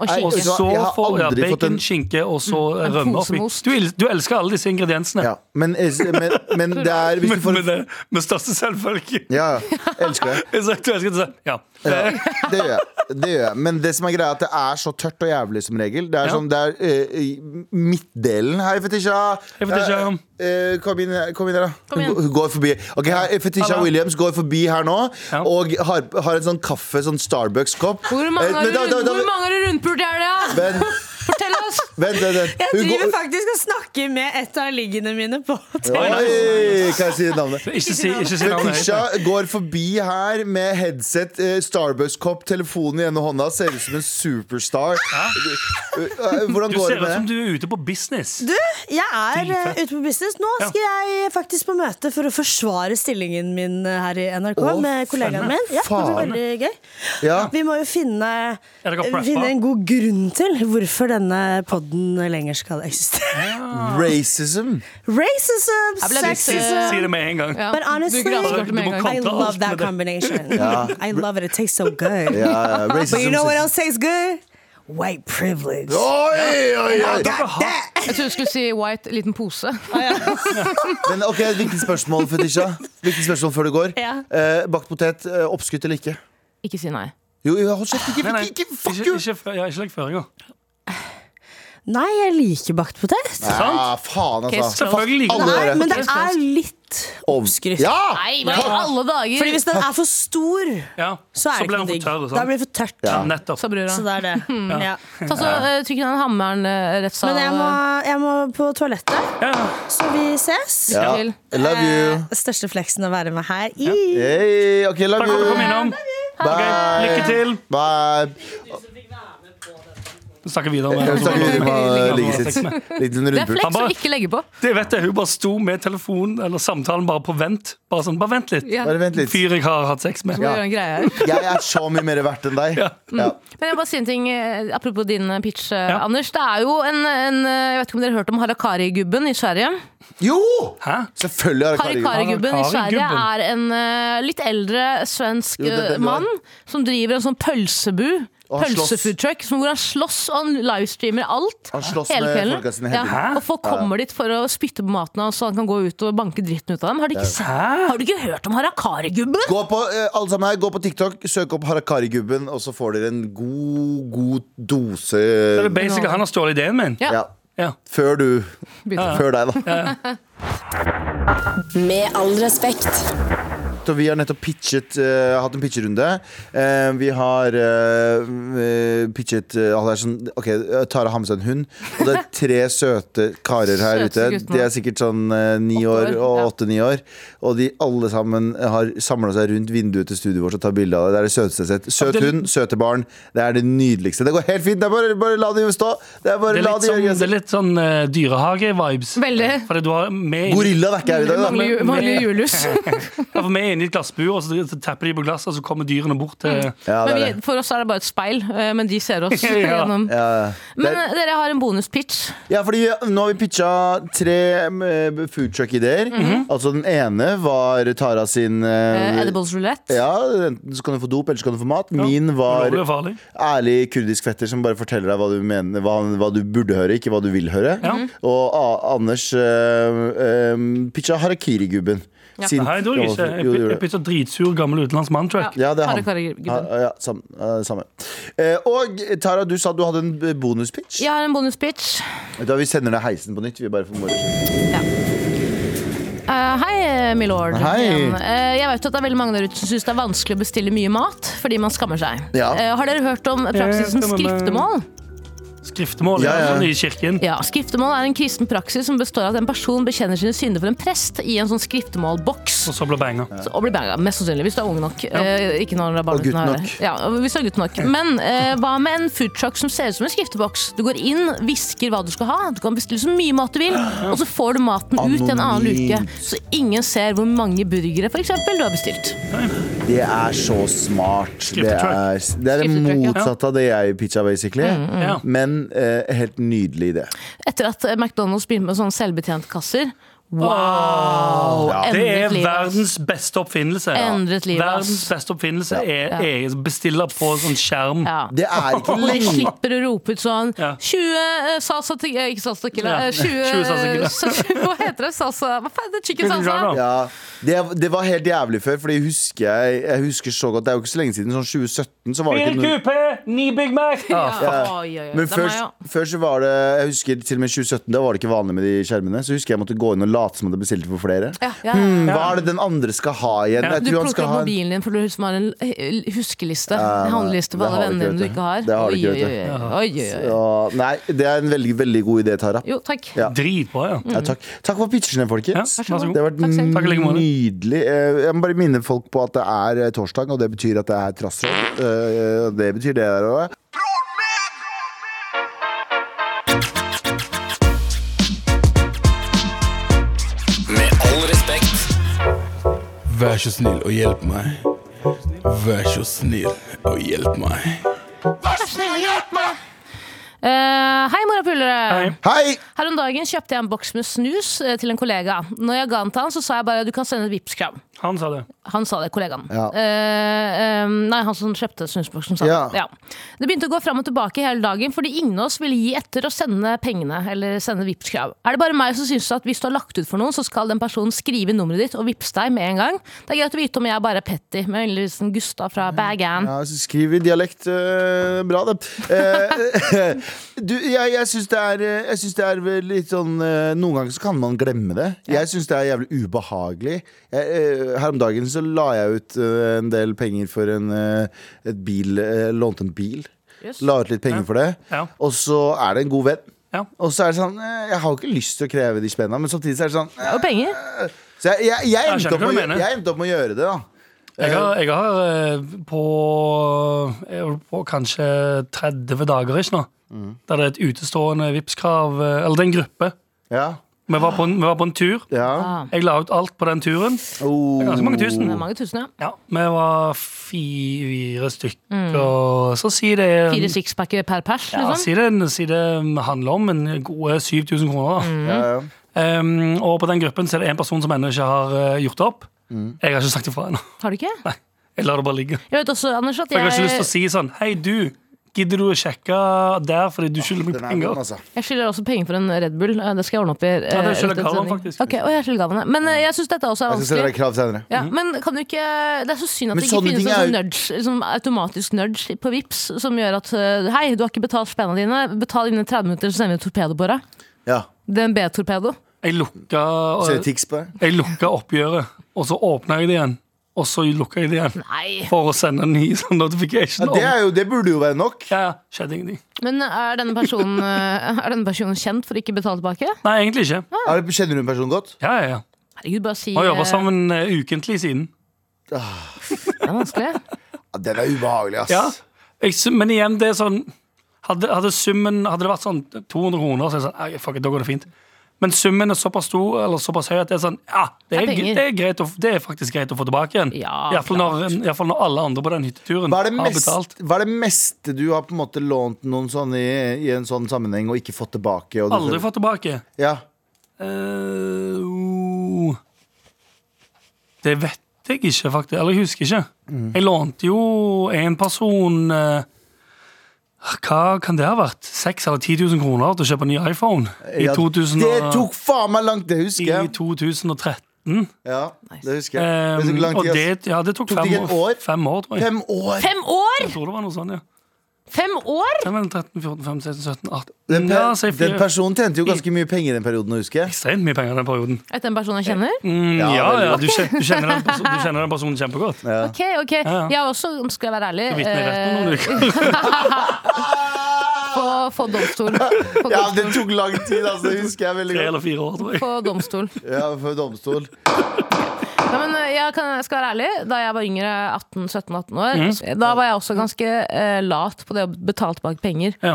C: Og
B: Nei,
D: Og
B: Vet du
C: skinke.
B: hva, jeg
D: så
B: har
D: får ja,
B: aldri fått
D: bacon,
B: en-
D: skinke og så eh,
C: Mm. En
D: rømme
C: pose
D: oppi.
C: med ost.
D: Du, el- du elsker alle disse ingrediensene.
B: Ja, men, eh, men, men det er hvis du
D: Med,
B: får
D: med, det, med største selvfølge.
B: Ja, elsker det.
D: Jeg sa- Du elsker det, så- ja. Eh,
B: Ja, det gjør jeg. Det gjør jeg. Men det som er greia, er at det er så tørt og jævlig som regel. Det er
D: Ja.
B: sånn, det er eh, i midtdelen Hei, Fetisha!
D: Hei, Fetisha.
B: Eh, eh, kom, inn, her- kom inn her, da.
C: Kom
B: Hun
C: igjen.
B: går- Hun går forbi. Ok, her, Fetisha
D: Hallo.
B: Williams går forbi her nå
D: Ja.
B: og har, har en sånn kaffe, sånn Starbucks-kopp.
C: Hvor
B: Eh,
C: mange
B: men da- da- da-
C: har du rundpult i helga?
B: Vent,
C: Fortell oss!
B: vent, vent, vent.
E: Jeg
B: Hun
E: driver
B: går-
E: faktisk og snakker med et av liggene mine på hotell.
D: Oi,
B: Oi, kan jeg si navnet?
D: Ikke si, ikke si navnet. høyt,
B: Fetisha
D: da.
B: går forbi her med headset, eh, Starbucks-kopp, telefonen i ene hånda. Ser ut som en superstar. Eh, Hvordan går
D: Du
B: det
D: ser ut som
B: med det?
D: du er ute på business.
E: Du, jeg er eh,
D: Dritfett.
E: ute på business. Nå
D: Ja.
E: skal jeg faktisk på møte for å forsvare stillingen min eh, her i NRK
B: Å,
E: med kollegaen min. Ja, det blir
B: faen.
E: veldig gøy.
B: Ja.
E: Vi må jo finne,
D: Er det godt preppa?
E: finne en god grunn til hvorfor denne podden lenger skal eksistere.
B: Racism.
E: Racism,
C: ble litt,
D: Si,
E: sexism
D: si det med en gang.
C: Ja.
E: But honestly,
C: du gravskapte
D: Du
C: med
D: må
C: en gang.
E: I
D: kontre
E: love
D: alt
E: that
D: med det.
E: combination.
B: Ja.
E: I love it. It tastes so good.
B: Ja, ja, racism
E: But you know what
B: sexism.
E: else tastes good? White privilege.
B: Oi, oi, oi.
D: Dere har-
C: Jeg trodde du skulle si white liten pose.
B: Men ok, et viktig spørsmål, Fetisha. Viktig spørsmål før du går.
E: Ja.
B: Eh, bakt potet, eh, oppskutt eller ikke?
C: Ikke si nei.
B: Jo, jo, hold kjeft. Ikke,
D: Nei, nei,
B: ikke, ikke, fuck
D: ikke,
B: you!
D: ikke, fø- ja, ikke legg føringer.
E: Nei, jeg liker bakt potet.
B: Ja, faen,
C: Ok,
B: altså.
C: så-
D: Selvfølgelig
B: Alle
D: ikke.
B: dere.
E: Men det er litt
B: Obskrytt. Ja!
C: Nei, men i alle dager!
E: Fordi hvis den er for stor,
D: Ja.
E: så
D: Så
E: er det
D: ble han for
E: ikke
D: tørr.
E: noe digg.
D: sant?
E: Da blir det for tørt.
B: Ja.
D: Nettopp.
C: Så bryr han.
E: Så det er det. Ja.
C: Ta så eh, trykk den hammeren eh, rett
E: Men
C: sånn.
E: jeg må, jeg må på toalettet,
D: Ja.
E: så vi ses.
B: Ja.
C: til.
B: I Love you.
E: Eh, Største fleksen å være med her i.
B: Hey, ok, love
D: Takk for at du kom
B: you.
D: innom. Ok,
B: Bye.
D: lykke til.
B: Bye.
D: Vi snakker videre
B: Jeg vil snakke videre med liggesitt.
D: med
B: Liten
C: Det er
B: rundpult.
D: Han
C: fleks å
D: bare-
C: ikke legge på.
D: Det vet jeg, Hun bare sto med telefonen eller samtalen bare på vent. Bare sånn, bare vent litt.
C: Ja.
B: Bare vent litt.
D: Fyr jeg har hatt sex med.
C: Må gjøre en greie her.
B: Jeg er så mye mer verdt enn deg. Ja.
C: Men jeg vil bare si en ting eh, Apropos din eh, pitch, eh,
D: Ja.
C: Anders. Det er jo en, en eh, Jeg vet ikke om dere har hørt om Harakari-gubben i Sverige?
B: Jo!
D: Hæ?
B: Selvfølgelig har jeg karriere.
C: Harakari-gubben i Sverige
D: Harakari-gubben.
C: er en eh, litt eldre svensk
B: Jo, det- det-
C: eh,
B: det var-
C: mann som driver en sånn pølsebu.
B: Og han slåss.
C: Pølsefoodtruck som- hvor han slåss og han livestreamer alt.
B: Han slåss
C: hele
B: med
C: kvelden.
B: folka sine
C: Ja.
B: hele tiden.
C: Og folk kommer dit for å spytte på maten hans, så han kan gå ut og banke dritten ut av dem. Har du ikke, sett-
D: Hæ?
C: har du ikke hørt om Harakari-gubben?
B: Gå på, eh, alle sammen her, gå på TikTok, søk opp Harakari-gubben, og så får dere en god, god dose
D: Det er basic, han har stjålet ideen min.
C: Ja.
B: ja.
D: Ja.
B: Før du
C: Begynte.
B: Før deg, da.
A: Med all respekt.
B: Så vi har nettopp pitchet, eh, hatt en pitcherunde. Eh, vi har eh, eh, pitchet eh, alle er sånn, Ok, eh, Tara har med seg en hund. Og det er tre søte karer her ute.
C: Søteste guttene.
B: De er sikkert sånn eh, ni år
C: Åtte år,
B: og
C: ja.
B: åtte-ni år. Og de alle sammen har samla seg rundt vinduet til studioet vårt og tar bilde av det. Det er det søteste jeg har sett. Søt
D: Det-
B: hund, søte barn. Det er det nydeligste. Det går helt fint. Det er bare, bare la det stå. Det er
D: Det
B: bare
D: er
B: la
D: litt
B: det
D: sånn,
B: gjøre
D: det er litt sånn eh, dyrehage-vibes.
C: Veldig.
D: Fordi du har med
B: Gorillaen er ikke her i dag, da.
C: Mangler ju- mangler Julius.
D: Ja, for vi er inne i et glassbur, og så så tapper de på glasset, og så kommer dyrene bort til
B: Ja, det
C: Men
B: er
C: vi,
B: det.
C: for oss er det bare et speil, eh, men de ser oss
D: Ja.
C: gjennom.
B: Ja, ja.
C: Men
B: Det-
C: eh, dere har en eh, bonuspitch.
B: Ja, fordi nå har vi pitcha tre eh, foodtruck-ideer.
D: Mhm.
B: Altså den ene var Tara sin eh,
C: eh, Edibles roulette.
B: Ja, Enten så kan du få dop, eller så kan du få mat. Min
D: Ulovlig og
B: var
D: farlig.
B: ærlig kurdisk fetter som bare forteller deg hva du, mener, hva, hva du burde høre, ikke hva du vil høre.
D: Ja.
C: Mhm.
B: Og A Anders uh, pitcha Harakiri-gubben. Sin-
D: Nei, det gjorde jeg ikke.
B: Jo, du
D: Jeg-
B: gjorde det.
D: Jeg bytta dritsur gammel utenlandsk mann-track.
B: Ja, det er han.
C: Harakari-gubben.
B: Ha, ja, sam, eh, samme. Eh, og Tara, du sa du hadde en bonuspitch.
C: Jeg har en bonuspitch.
B: Vet du hva, Vi sender deg heisen på nytt. Vi bare for moro skyld.
C: Eh, hei, my lord.
B: Hei.
C: Igjen. Eh, jeg vet at det er veldig mange der ute som syns det er vanskelig å bestille mye mat fordi man skammer seg.
B: Ja.
C: Eh, har dere hørt om praksisen
D: Jeg skammer meg.
C: skriftemål?
D: Skriftemål
B: Ja, ja.
D: ja, sånn i kirken.
C: Ja, Skriftemål er en kristen praksis som består av at en person bekjenner sine synder for en prest i en sånn skriftemålboks.
D: Og så ble banga.
C: Så- Og blir banga, mest sannsynlig, hvis du er ung nok. Eh, ikke når det er barn
B: Og gutt
C: uten å høre.
B: nok.
C: Ja, og hvis du er gutt nok. Men eh, hva med en foodtruck som ser ut som en skrifteboks? Du går inn, hvisker hva du skal ha, du kan bestille så mye mat du vil, og så får du maten ut i en annen luke.
B: Anonymt.
C: Så ingen ser hvor mange burgere for eksempel, du har bestilt.
B: Det er så smart. Det er,
D: Skriftetrekk.
B: det er det
C: Skriftetrekk, ja. Mm,
B: motsatte av det jeg pitcha, basically.
D: Ja.
B: Men eh, helt nydelig idé.
C: Etter at eh, McDonald's begynte med sånne selvbetjentkasser. Wow!
B: Ja.
D: Det er
C: Endret livet.
D: verdens beste oppfinnelse.
C: Endret livet, ass.
D: Verdens beste oppfinnelse er,
C: Ja.
D: er bestiller på sånn skjerm.
C: Ja.
B: Det er ikke
C: Og de
B: lenge
C: slipper å rope ut sånn
D: Ja.
C: 20 eh, salsa til eh, Ikke salsa tequila.
D: Ja.
C: eh, 20,
D: 20 salsa tequila.
C: salsa- Hva heter det? Salsa Hva faen? Det er chicken
D: Chicken
C: salsa?
D: shawarma.
B: ja, det, det var helt jævlig før, Fordi husker jeg, jeg husker så godt Det er jo ikke så lenge siden. Sånn 2017 så var det ikke
D: Fire
B: noe
D: QP, ni Big Mac! Ah,
C: Ja.
B: Ja.
C: Oi, oi, oi.
B: Men
C: Da må
B: før,
C: jeg jo-
B: før så var det Jeg husker til og med 2017, da var det ikke vanlig med de skjermene. Så husker jeg jeg måtte gå inn og late som jeg hadde bestilt for flere. Hmm,
C: Ja, ja, ja.
B: Hva er det den andre skal ha igjen?
D: Ja.
B: Jeg
C: Du
B: tror han
C: plukker
B: skal
C: opp
B: ha en-
C: mobilen din, for du som har en eh, huskeliste.
B: nei,
C: En handleliste på
B: det
C: alle
B: har du ikke,
C: vennene
B: vet
C: du
B: du.
C: ikke har.
B: Det har du ikke,
C: Oi,
B: vet
C: oi, oi, oi, oi, oi.
B: Ja, Nei, det er en veldig, veldig god idé, Tara.
C: Jo, takk.
B: Ja.
D: Dritbra,
C: Mm.
D: ja.
B: Ja, takk. takk for pitchene,
D: Mm. ja.
B: folkens.
D: Vær så god.
B: Det har vært
C: Takk selv.
D: Takk i like måte.
B: nydelig. Eh, Jeg må bare minne folk på at det er eh, torsdag, og det betyr at det er trassråd. Eh, og Det betyr det der òg.
F: Med all respekt.
G: Vær så snill og hjelp meg. Vær så snill og hjelp meg.
C: Eh, hei, morapulere.
D: Hei.
B: Hei!
C: Her om dagen kjøpte jeg en boks med snus eh, til en kollega. Når jeg ga den til han, så sa jeg bare du kan sende et Vipps-krav.
D: Han sa det.
C: Han sa det, kollegaen.
B: Ja.
C: Eh, eh, nei, han som kjøpte snusboksen sa
B: Ja.
C: det. Ja. Det begynte å gå fram og tilbake hele dagen, fordi ingen av oss ville gi etter å sende pengene. Eller sende Vipps krav Er det bare meg som syns at hvis du har lagt ut for noen, så skal den personen skrive nummeret ditt og vippse deg med en gang? Det er greit å vite om jeg er bare er Petty med en liten Gustav fra Bagan.
B: Ja, så skriv i dialekt. øh, bra, det. Eh, du, jeg jeg syns det, er, øh, jeg syns det er vel litt sånn øh, Noen ganger så kan man glemme det. Jeg syns det er jævlig ubehagelig. Jeg, øh, her om dagen så la jeg ut øh, en del penger for en øh, et bil øh, Lånte en bil.
C: Yes.
B: La ut litt penger for det.
D: Ja.
B: Og så er det en god venn.
D: Ja.
B: Og så er det sånn øh, Jeg har jo ikke lyst til å kreve de spenna, men samtidig så er det sånn øh,
C: Og penger.
B: Så jeg, jeg, jeg,
D: Jeg
B: endte,
D: skjønner
B: opp med,
D: hva du
B: å gjø-
D: mener.
B: jeg endte opp med å gjøre det, da.
D: Jeg har, jeg har eh, på, jeg har på kanskje 30 dager ikke nå,
B: Mm.
D: der det er et utestående Vipps-krav, eh, eller det er en gruppe.
B: Ja.
D: Vi var, på en, vi var på en tur.
B: ja.
C: Ah,
D: Jeg la ut alt på den turen.
B: Oh.
D: Ganske mange tusen.
C: det er mange tusen, ja.
D: Ja, vi var fire stykker. Så si det
C: Mm. Fire sixpacker per pers,
D: ja,
C: liksom.
D: si det, si det handler om en gode 7000 kroner.
C: Mm.
D: Da.
B: Ja, ja.
D: Ehm, og på den gruppen så er det en person som ennå ikke har eh, gjort det opp. Jeg har ikke sagt ifra ennå.
C: Har du ikke?
D: Jeg lar det bare ligge.
C: Jeg vet også, Anders, at
D: For jeg har ikke lyst til å si
C: jeg,
D: sånn Hei, du, gidder du å sjekke der fordi du skylder meg
B: Den er vond,
D: penger?
B: altså.
C: jeg skylder også penger for en Red Bull. eh, Det skal jeg ordne opp i. eh,
D: det skylder
C: etter
D: Galvan,
C: sending.
D: faktisk.
C: Ok, og jeg skylder Galvan, ja. Men eh, jeg syns dette også er
B: Jeg skal sende
C: vanskelig.
B: deg krav senere.
C: Ja, men kan du ikke Det er så synd at
B: Mhm. Men
C: det ikke
B: sånne
C: finnes
B: ting
C: en
B: er
C: sånn
B: jo-
C: nudge, sånn automatisk nudge på Vips som gjør at eh, Hei, du har ikke betalt spennene dine. Betal innen 30 minutter, så sender vi torpedo på deg.
B: Ja.
C: DNB-torpedo.
D: Jeg lukka,
B: Ser du tics på deg?
D: jeg lukka oppgjøret, og så åpna jeg det igjen. Og så lukka jeg det igjen
C: Nei.
D: for å sende en ny sånn notification.
B: Ja, det, er jo, det burde jo være nok.
D: ja, ja, skjedde ingenting.
C: Men er denne personen, eh, er denne personen kjent for å ikke betale tilbake?
D: Nei, egentlig ikke.
C: Ah.
B: Er det- Kjenner du en person godt?
D: Ja, ja, ja.
C: Herregud, bare si
D: Vi har
C: eh,
D: jobba sammen eh, ukentlig siden.
C: Det er vanskelig.
B: Ja, den er ubehagelig, ass.
D: Ja. Jeg, sy- men igjen, det er sånn Hadde, hadde summen hadde det vært sånn 200 kroner, så er det sånn «Nei, Fuck it, da går det fint. Men summen er såpass stor eller såpass høy at det er sånn Ja, det er,
C: Det er penger.
D: det er, greit å, det er faktisk greit å få tilbake igjen.
C: Ja,
D: Iallfall når, i hvert fall når alle andre på den hytteturen
B: Hva er, det
D: har
B: mest,
D: betalt.
B: hva er det meste du har på en måte lånt noen sånne i, i en sånn sammenheng og ikke fått tilbake? Og du-
D: Aldri fått tilbake.
B: Ja.
D: Eh, oh. det vet jeg ikke, faktisk. Eller jeg husker ikke.
B: Mm.
D: Jeg lånte jo en person eh, Hva kan det ha vært? 6000 eller 10 000 kroner til å kjøpe en ny iPhone? I,
B: ja
D: 2000 og-
B: Det tok faen meg langt, det husker
D: i
B: jeg.
D: 2013.
B: Ja, det husker jeg. Det tok
D: Um,
B: lang
D: og
B: tid, ass.
D: det, ja, det tok,
B: Tok det
D: fem,
B: ikke et år?
D: fem år, tror jeg.
B: Fem år!
C: Fem år!
D: Jeg tror det var noe sånt, ja.
C: Fem år!
D: Hvem er den 13, 14, 15, 16, 17, 18
B: Den,
D: Ja, si
B: per, den
D: fire.
B: personen tjente jo ganske mye penger i den perioden, husker jeg.
D: Ekstremt mye penger den perioden.
C: Er det en person jeg kjenner?
D: Mm, ja, ja,
B: veldig
D: du, kjen- du, kjenner den perso- du kjenner den personen kjempegodt.
C: Ok, ok. Jeg har også, skal jeg være ærlig
D: Du vitner rett om noen
C: eh,
D: uker.
C: Få eh, få domstol. Få
B: Ja,
C: domstol.
B: det tok lang tid, altså. Det husker jeg veldig
D: Tre
B: godt.
D: eller fire år, tror jeg.
C: Få domstol.
B: Ja, for domstol.
C: Ja, men eh, jeg, kan, jeg skal være ærlig, da jeg var yngre, 18-17-18 år,
D: Mhm.
C: da var jeg også ganske eh, lat på det å betale tilbake penger.
D: Ja.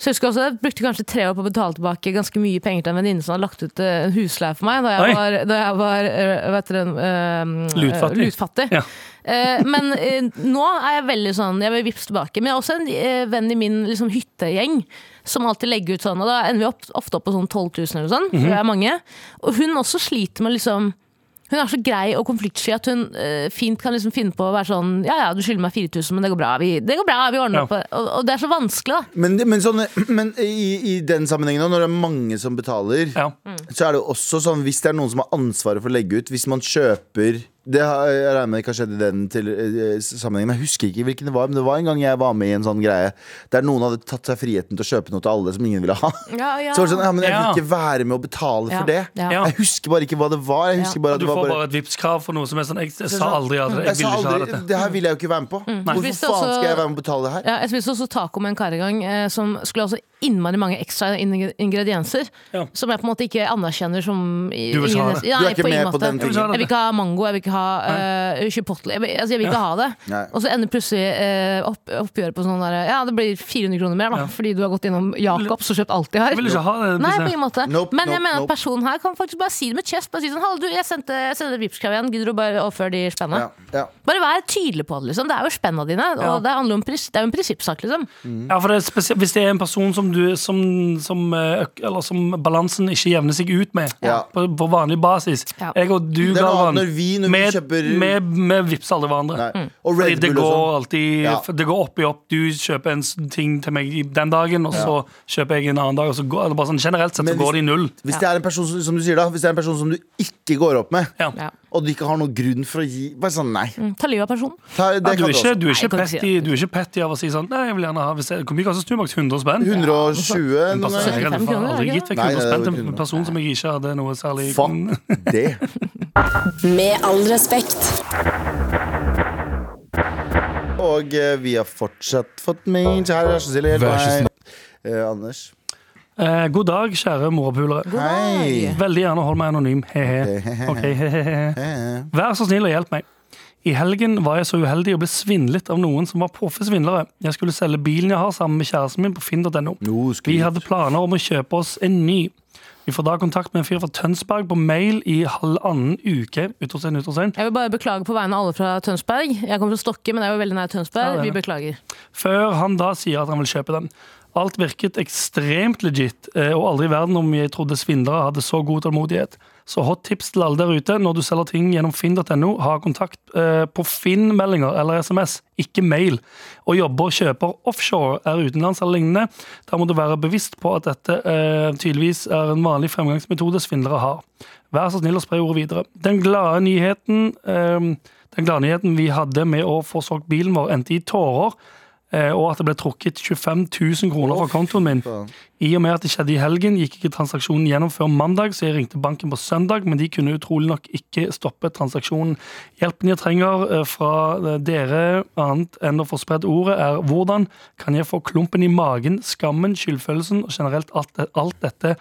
C: Så jeg husker også, jeg brukte kanskje tre år på å betale tilbake ganske mye penger til en venninne som hadde lagt ut eh, en husleie for meg da jeg
D: Oi.
C: var, da jeg var eh, vet dere, eh,
D: Lutfattig.
C: eh, lutfattig.
D: Ja.
C: Eh, men eh, nå er jeg veldig sånn, jeg vil vippse tilbake. Men jeg er også en eh, venn i min liksom, hyttegjeng som alltid legger ut sånn, og da ender vi opp, ofte opp på sånn 12 000 eller sånn, for det er mange. Og hun også sliter med liksom hun er så grei og konfliktsky at hun eh, fint kan liksom finne på å være sånn Ja ja, du skylder meg 4000, men det går bra. Vi, det går bra, vi
D: Ja.
C: ordner opp. Og, og det er så vanskelig, da.
B: Men, men, sånn, men i, i den sammenhengen, nå, når det er mange som betaler,
D: Ja.
B: så er det jo også sånn hvis det er noen som har ansvaret for å legge ut Hvis man kjøper Det har, jeg regner med ikke har skjedd i den til, eh, sammenhengen, men jeg husker ikke hvilken det var. Men det var en gang jeg var med i en sånn greie der noen hadde tatt seg friheten til å kjøpe noe til alle som ingen ville ha.
C: Ja, ja.
B: Så var det sånn, ja, men jeg
D: Ja.
B: vil ikke være med å betale
C: Ja,
B: for det.
C: ja.
D: Ja.
B: Jeg husker bare ikke hva det var. Jeg husker
D: Og
B: bare at
D: Du
B: det var
D: får
B: bare Mm.
D: bare et Vipps-krav for noe som er sånn Jeg, jeg sa aldri at jeg
B: jeg sa
D: ville ikke ha
B: aldri,
D: dette.
B: Det her vil jeg jo ikke være med på. Hvorfor faen
C: Mm. Hvis det også-
B: skal jeg være med og betale det her?
C: Ja, jeg spiste også taco med en kar en gang eh, som skulle ha så innmari mange ekstra ing- ingredienser.
D: Ja.
C: Som jeg på en måte ikke anerkjenner som i-
D: Du vil ikke ha det.
C: ingen- Nei,
B: Du er ikke
C: på ingen
B: med på
C: måte.
B: den tingen.
D: Jeg vil ikke ha dette.
C: Jeg vil ikke ha mango, jeg vil ikke ha eh, chipotle. Jeg vil, altså, jeg vil ikke ha det.
B: Nei.
C: Og så ender plutselig eh, opp, oppgjøret på sånn der Ja, det blir 400 kroner mer, da. Fordi du har gått innom Jacobs og kjøpt alt de har.
D: Jeg vil ikke ha
B: Mm.
D: det.
C: Nei, på ingen måte.
B: Nope,
C: Men
B: nope,
C: jeg mener
B: nope.
C: at personen her kan faktisk bare si det med chest. Bare si sånn Hallo, du, jeg sendte, jeg sendte Vipps-krav igjen. Gidder du bare å overføre de spenna?
B: Ja, ja.
C: Bare vær tydelig på det, liksom. Det er jo spenna dine, og
D: Ja.
C: det handler om pris, Det er jo en prinsippsak, liksom.
D: Ja, for det er spesielt, Hvis det er en person som som, du, som, som, eh, øk- eller som balansen ikke jevner seg ut med
B: Ja.
D: på, på vanlig basis.
C: Ja.
D: Jeg og du,
B: Det er noe
D: Galvan,
B: annet når vi- når vi
D: vi,
B: kjøper-
D: vi- vi vipser aldri hverandre.
B: Nei.
C: Mm.
B: Og
D: Fordi
B: Red
D: det
B: Bull og
D: går
B: sånn.
D: alltid
B: Ja.
D: for Det går opp i opp. Du kjøper en s- ting til meg i den dagen, og så kjøper jeg en annen dag. Og så går, eller bare sånn, generelt sett
B: Men
D: så går det i null.
B: Hvis det er en person som, som du sier da Hvis det er en person som du ikke går opp med,
D: Ja.
C: Ja.
B: og du ikke har noen grunn for å gi Bare sånn, nei.
C: Mm, Ta livet av personen.
B: Ta, det
D: Nei, du,
B: kan
D: er
B: du også.
D: ikke, du, er
C: Nei,
D: ikke
C: kan ikke si
D: petty, du er ikke petty av å si sånn Nei, jeg vil gjerne ha hvis jeg, Hvor mye koster Sturmaks? 100 spenn?
B: 120
D: En person, jeg hadde
C: 75
D: faen
C: kroner,
D: aldri
C: ikke
D: gitt vekk
B: Nei,
D: 100
B: det var
D: spenn til en
B: 100.
D: person som jeg ikke hadde noe særlig
B: Fuck det.
A: Med all respekt.
B: Og eh, vi har fortsatt fått mail. Her er Cecilie.
G: Vær så
B: Hei. Eh, Anders.
D: Eh, god dag, kjære morapulere.
B: Hei.
D: Veldig gjerne hold meg anonym. He-he. Ok, he-he-he.
B: Eh,
D: Vær så snill og hjelp meg. I helgen var jeg så uheldig og ble svindlet av noen som var proffe svindlere. Jeg skulle selge bilen jeg har sammen med kjæresten min på finn.no.
B: Jo, skryt.
D: Vi hadde planer om å kjøpe oss en ny. Vi får da kontakt med en fyr fra Tønsberg på mail i halvannen uke. Utropstegn, utropstegn.
C: Jeg vil bare beklage på vegne av alle fra Tønsberg. Jeg kommer fra Stokke, men det er jo veldig nær
D: Ja,
C: Tønsberg.
D: det er
C: Vi
D: det.
C: beklager.
D: Før han da sier at han vil kjøpe den. Alt virket ekstremt legit, eh, og aldri i verden om jeg trodde svindlere hadde så god tålmodighet. Så hot tips til alle der ute når du selger ting gjennom finn.no, ha kontakt eh, på Finn-meldinger eller SMS, ikke mail. Og jobber og kjøper offshore, er utenlands eller lignende. Da må du være bevisst på at dette eh, tydeligvis er en vanlig fremgangsmetode svindlere har. Vær så snill og spre ordet videre. Den glade nyheten eh, den glade nyheten vi hadde med å få solgt bilen vår, endte i tårer. eh, Og at det ble trukket 25 000 kroner fra kontoen min. I og med at det skjedde i helgen, gikk ikke transaksjonen gjennom før mandag, så jeg ringte banken på søndag, men de kunne utrolig nok ikke stoppe transaksjonen. Hjelpen jeg trenger eh, fra eh, dere, annet enn å få spredd ordet, er hvordan kan jeg få klumpen i magen, skammen, skyldfølelsen og generelt alt, det- alt dette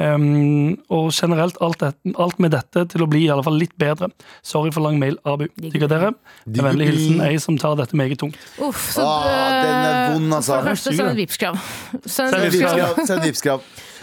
D: Ehm, og generelt alt, det, alt med dette til å bli i alle fall litt bedre. Sorry for lang mail, Abu. Digger dere. Med vennlig hilsen ei som tar dette meget tungt.
C: Uff, så, eh,
B: Ah, den er vond, altså.
C: For det første,
D: Sur,
C: send
D: den.
C: et Vipps-krav. Send
D: Send
C: et
D: et Vipps-krav.
C: Vipps-krav.
B: Vipskrav, Send vipskrav.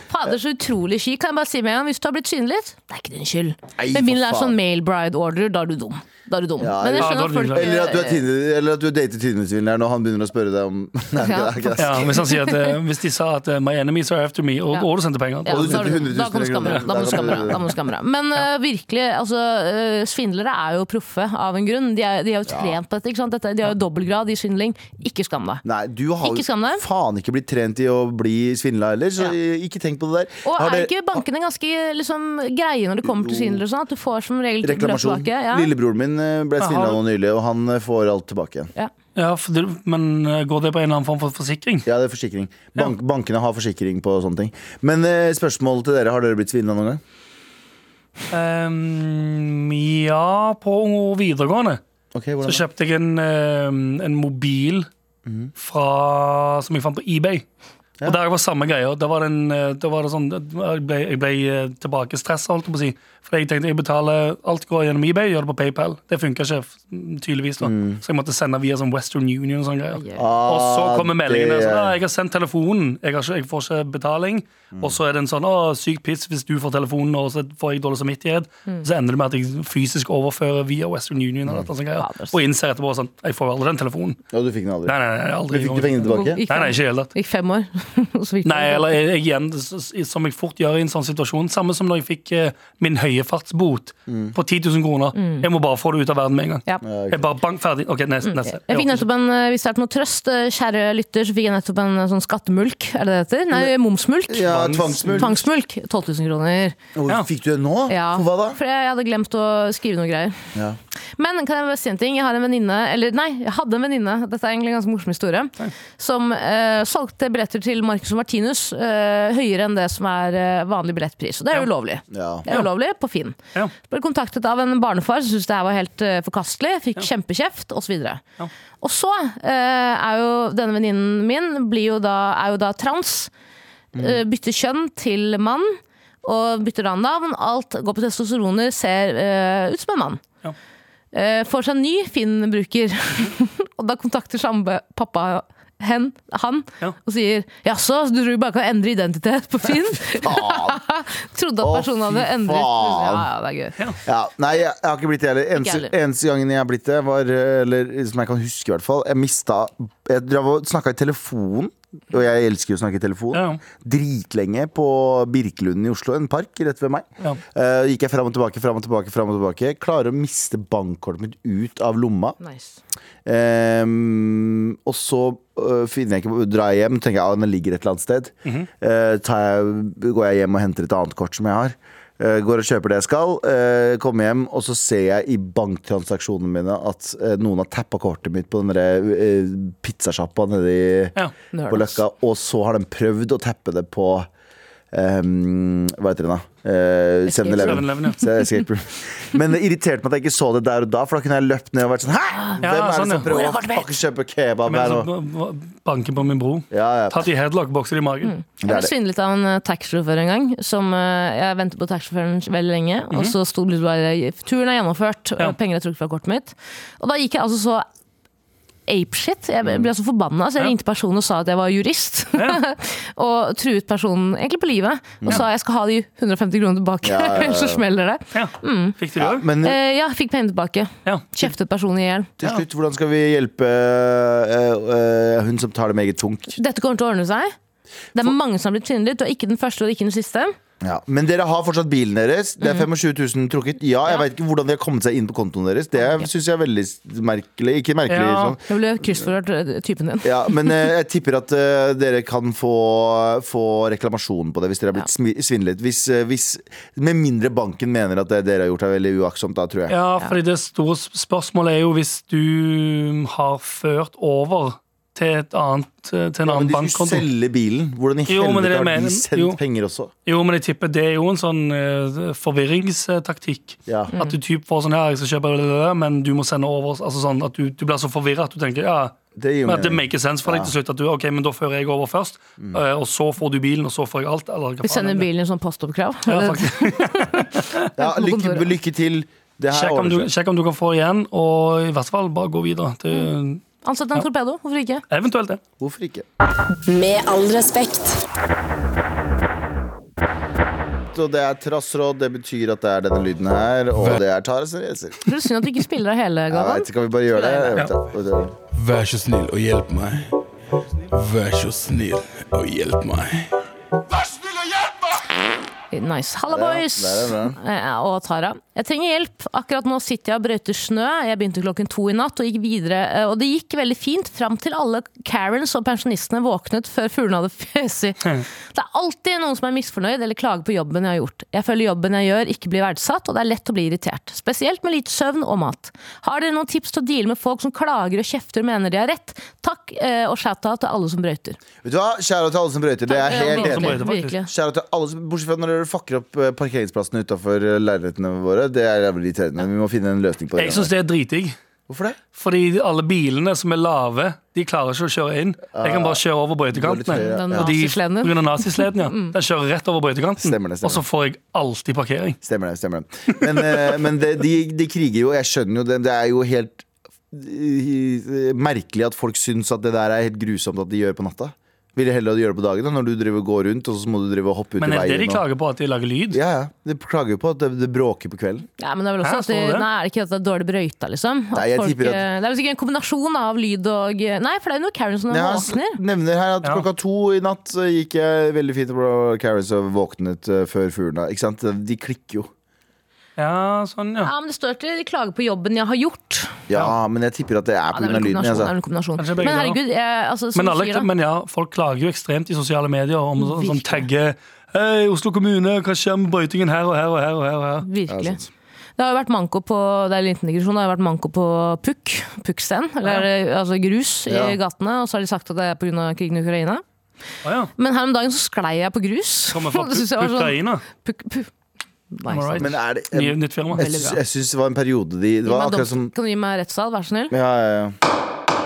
C: Fader, så utrolig kjipt. Kan jeg bare si med en gang, hvis du har blitt synlig, det er ikke din skyld.
B: Nei,
C: Men min
B: for
C: er
B: faen.
C: sånn male bride order, da er du dum. Da er du dum.
B: Ja,
C: Men jeg
D: ja, da
C: skjønner
D: er
C: at
D: du
C: folk
D: dum.
B: Eller at du, er Tinder- eller at du dater Tinder-svindleren, og han begynner å spørre deg om Nei, det er ikke det.
D: Ja, hvis, han sier at, eh, hvis de sa at eh, 'my enemies are after me', og,
C: Ja.
D: og du sendte penger
C: Ja,
B: Og du
C: da
B: setter
C: er du-
B: 100 000
C: da kan du skamme deg. Da må du skamme deg. Da må du skamme deg. Men øh, virkelig, altså, øh, svindlere er jo proffe av en grunn. De er, de er jo trent på dette. ikke sant? Dette, de har jo dobbeltgrad i svindling. Ikke skam deg.
B: Nei, du har
C: Ikke skam
B: jo
C: deg.
B: faen ikke blitt trent i å bli svindla heller, så ikke tenk på det der.
C: Og
B: Har
C: er
B: dere-
C: ikke bankene ganske liksom, greie når det kommer til svindel? og sånn, At du får som regel beløp
B: Reklamasjon.
C: tilbake? Ja.
B: Lillebroren min eh, ble
D: har-
B: svindla nå nylig, og han eh, får alt tilbake igjen.
C: Ja.
D: Ja, for det, men eh, går det på en eller annen form for forsikring?
B: Ja, det er forsikring. Bank, Bankene har forsikring på sånne ting. Men eh, spørsmål til dere, har dere blitt svindla noen gang?
D: Ehm, ja, på videregående
B: Ok,
D: så
B: hvordan da?
D: kjøpte jeg en, eh, en mobil
C: Mhm.
D: fra, som jeg fant på eBay. Og der var samme greia. Da var det en, eh, da var det sånn, jeg ble, jeg ble eh, tilbake stressa, holdt jeg på å si. For jeg tenkte jeg betaler alt går gjennom eBay, gjør det på PayPal. Det funka ikke, f- tydeligvis. da
C: Mm.
D: Så jeg måtte sende via sånn Western Union og sånne greier.
B: Ah,
D: Og så kommer meldingene
B: det-
D: sånn, «Ah, jeg har sendt telefonen, jeg, har ikke, jeg får ikke betaling.
B: Mm.
D: Og så er det en sånn, å, syk piss hvis du får telefonen, og så får jeg dårlig samvittighet.
C: Mm.
D: Så ender det med at jeg fysisk overfører via Western Union
B: Mm.
D: eller noe sånt greier. Og innser etterpå sånn, jeg får jo aldri den telefonen.
B: Ja, du fikk den aldri.
D: Nei, nei, nei,
B: Du
D: aldri.
B: fikk ikke pengene tilbake?
C: Gikk
D: Nei,
C: fem-
D: nei, ikke i det hele tatt.
C: Gikk fem år. Så fikk du-
D: Nei, eller jeg, jeg, igjen, s- s- som jeg fort gjør i en sånn situasjon. Samme som når jeg fikk eh, min høyefartsbot på 10 000 kroner.
C: Mm.
D: Jeg må bare få det ut av verden med en gang.
C: ja.
B: Mm. Ja, ikke
D: Jeg
B: sant.
D: bare bank ferdig. Ok, neste. neste.
C: Mm. Jeg fikk nettopp en, eh, Hvis det er til noe trøst, eh, kjære lytter, så fikk jeg nettopp en eh, sånn skattemulk. Er det det heter? Nei, momsmulk.
B: Ja, tvangsmulkt.
C: Tvangsmulk. 12 000 kroner.
B: Hvor
D: Ja.
B: Fikk du det nå?
C: Ja,
B: For hva da?
C: For jeg hadde glemt å skrive noen greier.
B: Ja.
C: Men kan jeg bare si en ting? Jeg har en venninne, eller nei, jeg hadde en venninne, dette er egentlig en ganske morsom historie, som eh, solgte billetter til Marcus og Martinus eh, høyere enn det som er eh, vanlig billettpris. Og det er jo ulovlig.
B: Ja.
C: Det er ulovlig på Finn.
D: Ja.
C: Ble kontaktet av en barnefar som syntes det her var helt eh, forkastelig. Fikk kjempekjeft osv.
D: Ja.
C: Og så eh, er jo denne venninnen min blir jo da, er jo da trans.
B: Mm.
C: Eh, bytter kjønn til mann. Og bytter da navn. Alt går på testosteroner, ser eh, ut som en mann.
D: Ja.
C: Eh, får seg en ny Finn-bruker. og da kontakter samme pappa hen, han
D: Ja.
C: og sier 'jaså, så du tror vi bare kan endre identitet på Finn'?
B: Faen.
C: Trodde at
B: Å,
C: personen hadde
B: fy
C: endret
B: faen.
C: ja, ja, det er gøy.
B: Ja, nei, jeg, jeg har ikke blitt det heller. Eneste,
C: heller.
B: eneste gangen jeg har blitt det, var eh, Eller som jeg kan huske, i hvert fall. Jeg mista Jeg drev og snakka i telefon Og jeg elsker jo å snakke i telefon.
D: Ja.
B: Dritlenge på Birkelunden i Oslo, en park rett ved meg.
D: Ja.
B: Eh, gikk jeg fram og tilbake, fram og tilbake, fram og tilbake. Klarer å miste bankkortet mitt ut av lomma.
C: Nice.
B: Ehm, og så øh, finner jeg ikke drar jeg hjem, tenker jeg at den ligger et eller annet sted.
D: Mhm.
B: Eh, tar jeg, går jeg hjem og henter et annet kort som jeg har. Eh, går og kjøper det jeg skal. eh, kommer hjem, og så ser jeg i banktransaksjonene mine at eh, noen har tappa kortet mitt på den der, eh, pizzasjappa nede i-
D: Ja.
C: Nerd,
B: på
C: ass.
B: Løkka. Og så har de prøvd å tappe det på ehm, hva heter den da? Eh, 7-Eleven.
D: 7-Eleven, ja.
B: Så jeg escape room. Men det irriterte meg at jeg ikke så det der og da, for da kunne jeg løpt ned og vært sånn Hæ! Hvem
D: Ja,
B: er det
D: sånn,
B: som
D: ja.
B: prøver å fucking kjøpe kebab
D: Men
B: her
D: sånn,
B: nå?
D: så b- b- banken på min bro.
B: Ja, ja.
D: Tatt i headlock, bokser i magen.
B: Det
C: Jeg
B: er
C: ble
B: det.
C: svindlet av en eh, taxisjåfør en gang. Som eh, Jeg ventet på taxisjåføren veldig lenge. Og
B: Mhm.
C: så sto det bare Turen er gjennomført,
D: Ja.
C: og penger er trukket fra kortet mitt. Og da gikk jeg altså så apeshit. Jeg ble ble så forbanna, så jeg
D: Ja.
C: ringte personen og sa at jeg var jurist. og truet personen egentlig på livet. Og sa jeg skal ha de 150 kronene tilbake,
B: Ja, ja, ja.
C: ellers så smeller det.
D: Ja. Fikk du det
B: Ja,
D: òg?
B: men
C: Eh, ja, fikk pengene tilbake.
D: Ja.
C: Kjeftet personen i hjel.
B: til slutt, hvordan skal vi hjelpe eh, eh, hun som tar det meget tungt?
C: Dette kommer til å ordne seg. Det er mange som har blitt svindlet. Du er ikke den første, og du er ikke den siste.
B: Ja. Men dere har fortsatt bilen deres. Det er
D: Mm.
B: 25 000 trukket. Ja, jeg vet ikke hvordan de har kommet seg inn på kontoen deres. Det syns jeg er veldig merkelig. Ikke merkelig,
D: Ja.
B: sånn.
C: Jeg ble kryssforhørt eh, typen din.
B: Ja, men eh, jeg tipper at eh, dere kan få, få reklamasjon på det hvis dere har blitt smi- svindlet. Hvis, eh, hvis, med mindre banken mener at det dere har gjort er veldig uaktsomt, da tror jeg.
D: Ja, fordi det store sp- spørsmålet er jo hvis du mm, har ført over til, et annet, eh, til en
B: Men
D: annen
B: de skulle
D: bankkonto.
B: selge bilen. Hvordan i
D: Jo, men
B: helvete
D: dere
B: har
D: mener-
B: de sendt
D: jo.
B: penger også?
D: Jo, men jeg tipper det er jo en sånn eh, forvirringstaktikk.
B: Ja.
D: At du typ får sånn her, jeg skal kjøpe det, det, det, men du må sende over altså sånn at du, du blir så forvirra at du tenker ja,
B: Det gir jo
D: men at det
B: mening.
D: makes sense for deg til slutt. At du, ok, men da fører jeg over først,
B: Mm.
D: eh, og så får du bilen, og så får jeg alt. Eller hva
C: Vi
D: faen
C: sender
D: er det?
C: bilen i sånn postoppkrav.
D: Ja, faktisk.
B: Ja,
C: på
B: lykke,
C: kontoret.
B: lykke til. Det her
D: sjekk, om du,
B: ordner seg.
D: sjekk om du kan få igjen, og i hvert fall bare gå videre. Det,
B: Mm.
C: Ansett en torpedo, hvorfor ikke?
D: eventuelt det.
B: Hvorfor ikke?
A: Med all respekt.
B: Og det er trassråd. Det betyr at det er denne lyden her, og det er Taras racer.
C: Det er synd at du ikke spiller av hele,
B: Jeg
C: Gavan.
B: vet, kan vi bare gjøre det? Jeg vet, det.
G: Vær så snill og hjelp meg. Vær så snill og hjelp meg.
C: Nice. Halla, boys!
B: det er
C: Eh, Og Tara. Jeg trenger hjelp. Akkurat nå sitter jeg og brøyter snø. Jeg begynte klokken to i natt og gikk videre. eh, Og det gikk veldig fint fram til alle Karens og pensjonistene våknet før fuglene hadde føsi. Det er alltid noen som er misfornøyd eller klager på jobben jeg har gjort. Jeg føler jobben jeg gjør ikke blir verdsatt, og det er lett å bli irritert. Spesielt med lite søvn og mat. Har dere noen tips til å deale med folk som klager og kjefter og mener de har rett? Takk eh, og shout-out til alle som brøyter. Eh,
B: vet du hva? Kjære til alle som brøyter. Det er jeg helt enig. i.
D: brøyter, faktisk.
C: Virkelig.
B: Kjære til alle, som- bortsett fra når dere fucker opp eh, parkeringsplassene utafor leilighetene våre. Det er jævlig irriterende. Vi må finne en løsning på det.
D: Jeg syns det er dritdigg.
B: Hvorfor det?
D: Fordi alle bilene som er lave, de klarer ikke å kjøre inn. Jeg kan bare kjøre over brøytekantene.
B: Det går litt høyere,
C: Den
D: Og de-
C: nazisleden. Mm.
D: på grunn av nazisleden, ja. Den kjører rett over brøytekanten.
B: Stemmer det, stemmer.
D: Og så får jeg alltid parkering.
B: Stemmer det. stemmer det Men, eh, men det, de, de kriger jo. Jeg skjønner jo det. Det er jo helt eh, merkelig at folk syns at det der er helt grusomt at de gjør på natta. Vil de heller gjøre det på dagen da, når du driver og går rundt og så må du drive og hoppe ut
D: Men
B: i
D: er
B: veien.
D: det det de
B: og-
D: klager på, at de lager lyd?
B: Ja, ja. De klager jo på at det, det bråker på kvelden.
C: Ja, men det er vel
D: Hæ,
C: også at
D: står
C: det,
D: det?
C: nei, er det ikke at det er dårlig brøyta, liksom? At
B: Nei, jeg
C: folk,
B: tipper at-
C: eh, Det er vel sikkert en kombinasjon av lyd og eh, Nei, for det er jo noe Karen som
B: Jeg har-
C: våkner.
B: altså, nevner her at
D: Ja.
B: klokka to i natt så gikk jeg veldig fint på Carrots og våknet eh, før fuglene. Ikke sant? De klikker jo.
D: Ja, sånn, ja.
C: Ja, men det står ikke de klager på jobben jeg har gjort.
B: Ja, men jeg tipper at det er
C: Ja,
B: pga.
C: det er vel en
B: lyden.
C: kombinasjon. det er
B: Altså.
C: vel en kombinasjon.
D: Kanskje begge
C: Men
D: deler.
C: herregud, jeg, altså, som
D: Men,
C: du sier,
D: alle,
C: da.
D: men ja, folk klager jo ekstremt i sosiale medier om sånn, sånn
C: Virkelig.
D: tagge Hei, Oslo kommune, hva skjer med brøytingen her og her og her? og her, og her?
C: Virkelig.
B: sant.
C: Det har jo vært manko på det er en liten digresjon, det har jo vært manko på pukk, pukkstein, eller eh, altså grus
B: Ja.
C: i gatene, og så har de sagt at det er pga. krigen i Ukraina.
D: Å ja.
C: Men her om dagen så sklei jeg på grus.
D: Kommer fra
C: Det synes jeg var sånn-
D: Ukraina.
C: pukk, pukk. Nei,
D: Am I right?
B: Men er det
D: Nye,
B: jeg,
D: nytt firma.
B: jeg, syns- jeg syns det var en periode de Det
C: Gi
B: var
C: meg
B: akkurat
C: domst-
B: som
C: Kan du gi meg rettssal, vær så snill?
B: Ja, ja, ja.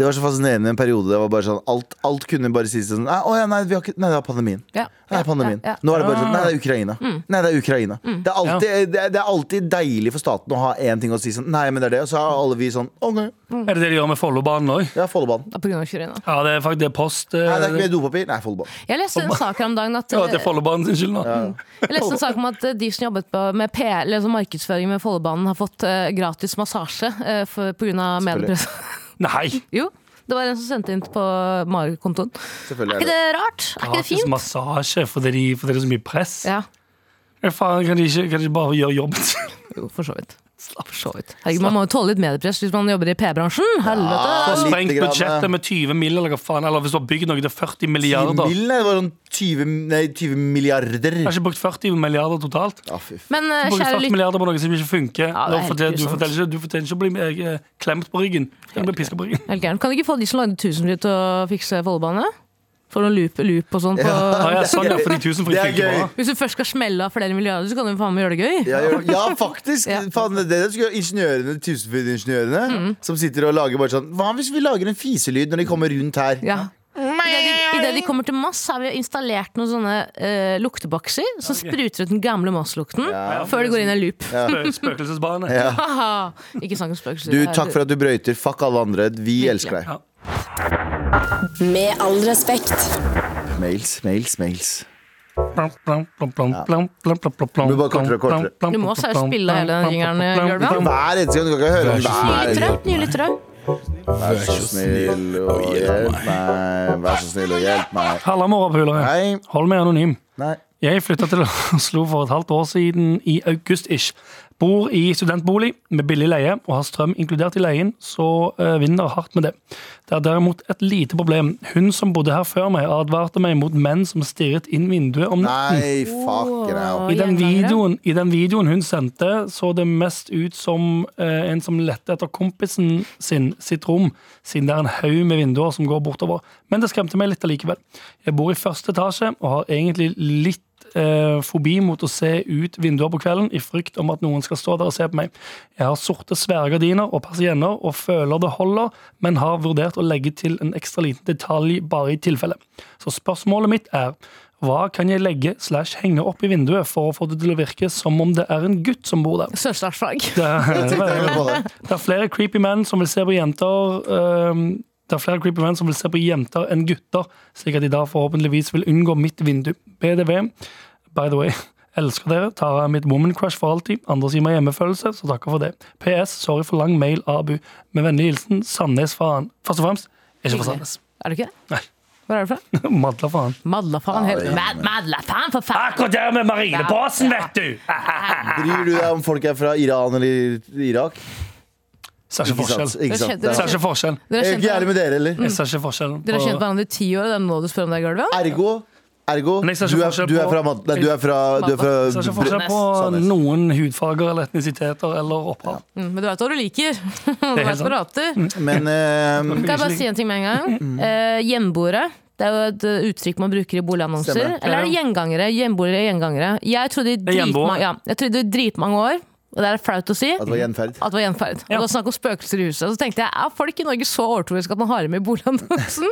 B: Det var så fascinerende i en periode. Det var bare sånn, alt, alt kunne bare sies sånn «Nei, Å ja, nei, vi har ikke, nei, det var pandemien.
C: Ja.
B: Det er pandemien.
C: Ja, Mm. ja.
B: Nå er det bare sånn Nei, det er Ukraina. Nei, det er Ukraina. Det, er alltid, det, er, det er alltid deilig for staten å ha én ting å si sånn Nei, men det er det. Og så har alle vi sånn OK,
D: Er det det de gjør med Follobanen òg?
B: det er Follobanen.
C: Det er på grunn av Ukraina.
D: Ja, det er faktisk det er post.
B: Nei,
D: eh,
B: det er ikke mer dopapir. Nei, Follobanen.
C: Jeg leste en sak her om dagen at,
D: ja, det er Follobanen sin skyld nå.
C: jeg leste en sak om at de som jobbet på- med P, eller altså markedsføring med eh, Follobanen, har fått eh, gratis massasje pga. mediepress.
D: Nei!
C: Jo, Det var en som sendte inn på Mario-kontoen. Er
B: Selvfølgelig
C: ikke
B: er det
C: det rart? Er ikke det
D: Gratis
C: fint?
D: massasje fordi, de, fordi det er så mye press.
C: Ja,
D: Ja, Faen, kan de ikke, kan de ikke bare gjøre jobben sin?
C: jo, for så vidt. For så vidt. Herregud, man må jo tåle litt mediepress hvis man jobber i P-bransjen.
D: Få
B: Ja,
C: Helvete!
B: litt
D: Sprengt
B: Ah, grann, eh, ja.
D: budsjettet med 20 mill. eller hva faen. Eller hvis du har bygd noe til 40
B: 10
D: milliarder.
B: mil, nei, det var sånn 20, nei, 20 milliarder.
D: Jeg har ikke brukt 40 milliarder totalt.
B: Ja, fy faen.
C: Men eh,
D: Brukt
C: kjære
D: 40
C: lytter
D: milliarder på noe som ikke funker.
C: Ja, det er
D: Da
C: helt
D: fortjener- du,
C: grusomt.
D: forteller ikke, du fortjener ikke å bli eh, klemt på ryggen. Du blir pisket på ryggen.
C: Helt gæren. Kan du ikke få de som lagde Tusenfryd til å fikse Follobane? For noen loop, loop og sånn. på-
D: Ja, ja, sånn, ja, fordi
B: Det
D: tusenfryd
B: er
D: funker
B: gøy.
D: bra.
C: Hvis du først skal smelle av flere milliarder, så kan du faen meg gjøre det gøy.
B: Ja, gjør- ja, Mm. faktisk.
C: Ja.
B: Faen, det er det skulle ingeniørene, tusenfrydingeniørene som sitter og lager bare sånn Hva hvis vi lager en fiselyd når de kommer rundt her?
C: Ja. Idet de, i det de kommer til Moss, har vi installert noen sånne eh, luktebokser som spruter ut den gamle Moss-lukten før det går inn i en loop.
D: Spø- Spøkelsesbane.
C: Haha. Ikke snakk om spøkelser.
B: Du, takk for at du brøyter. Fuck alle andre. Vi elsker deg.
D: Ja.
A: Med all respekt.
B: Mails, mails, mails.
D: Plam, plam, plam, plam, plam, plam, plam, plam, plam,
B: Det blir bare kortere og kortere.
D: plam, plam,
C: Du må seriøst
D: plam,
C: spille hele den
D: plam,
C: jingeren,
D: plam, plam,
C: Jørgen.
D: plam.
B: Hver eneste gang. Du kan ikke høre
G: Vær
B: den
G: så
B: hver
G: snill.
B: gang.
C: Nye lyttere.
G: Vær
B: Vær
G: så
B: så
G: snill og hjelp meg.
B: meg. Vær så snill og hjelp meg.
D: Halla, morapulere.
B: Hei.
D: Hold meg anonym.
B: Nei.
D: Jeg flytta til Oslo for et halvt år siden, i august-ish. Bor i studentbolig med billig leie og har strøm inkludert i leien, så eh, vinner hardt med det. Det er derimot et lite problem. Hun som bodde her før meg, advarte meg mot menn som stirret inn vinduet om natten.
B: Nei, fuck now.
C: Oi,
D: I den,
C: gjengangere.
D: videoen, I den videoen hun sendte, så det mest ut som eh, en som lette etter kompisen sin sitt rom, siden det er en haug med vinduer som går bortover. Men det skremte meg litt allikevel. Jeg bor i første etasje og har egentlig litt eh, fobi mot å se ut vinduer på kvelden, i frykt om at noen skal stå der og se på meg. Jeg har sorte sværegardiner og persienner og føler det holder, men har vurdert å legge til en ekstra liten detalj bare i tilfelle. Så spørsmålet mitt er hva kan jeg legge slash henge opp i vinduet for å få det til å virke som om det er en gutt som bor der?
C: Sørstatsfag.
D: Det er,
B: Tenk på det.
D: det er flere creepy menn som vil se på jenter ehm, Det er flere creepy menn som vil se på jenter enn gutter, slik at de da forhåpentligvis vil unngå mitt vindu. BDV, by the way. Elsker dere. Tar av mitt woman crush for alltid. Andre sier meg hjemmefølelse, så takker for det. PS. Sorry for lang mail, Abu. Med vennlig hilsen Sandnes faen. Først og fremst, jeg er ikke fra Sandnes.
C: Er det ikke det?
D: Nei.
C: Hvor er du fra?
D: Madla faen.
C: Madlafaen. helt- Mad- Madlafaen, for
B: Ah,
C: faen!
D: Akkurat der med marinebåsen, vet du!
B: Bryr du deg om folk er fra Iran eller Irak?
D: Ser ikke
B: Ikke
D: forskjell.
B: sant? Ikke sant?
D: Jeg
B: Det
D: ser
B: er- Mm.
D: ikke forskjell.
C: Dere
B: Jeg
C: har
B: er ikke ærlig
C: kjent,
B: med dere, eller?
D: Jeg ser ikke forskjellen
C: dere har kjent
D: på-
C: hverandre i ti år, og det er nå du spør om det er gulvet?
B: Ergo Ergo,
D: Men jeg ser ikke
B: du er,
D: forskjell
B: du er
D: på-
B: fra Mad- Nei, du er fra, du er
D: jeg ser ikke
B: fra
D: forskjell på
B: Sandnes.
D: noen hudfarger eller etnisiteter eller opphav.
C: Mm, men du vet hva du liker. Du
D: helt
C: vet hva du hater.
B: Men eh,
C: Kan jeg bare si en ting med en gang? Eh, hjemboere. Det er jo et eh, uttrykk man bruker i boligannonser.
B: Stemmer.
C: Eller er det gjengangere? Hjemboere, gjengangere. Jeg trodde i dritma-
D: gjenboere. Altså-
C: ja, jeg trodde i dritmange år, og det er flaut å si,
B: at det var altså, gjenferd.
C: at det var gjenferd. Og
D: Ja.
C: det var snakk om spøkelser i huset. Og så tenkte jeg, er folk i Norge så overtroiske at man har dem i boligannonsen?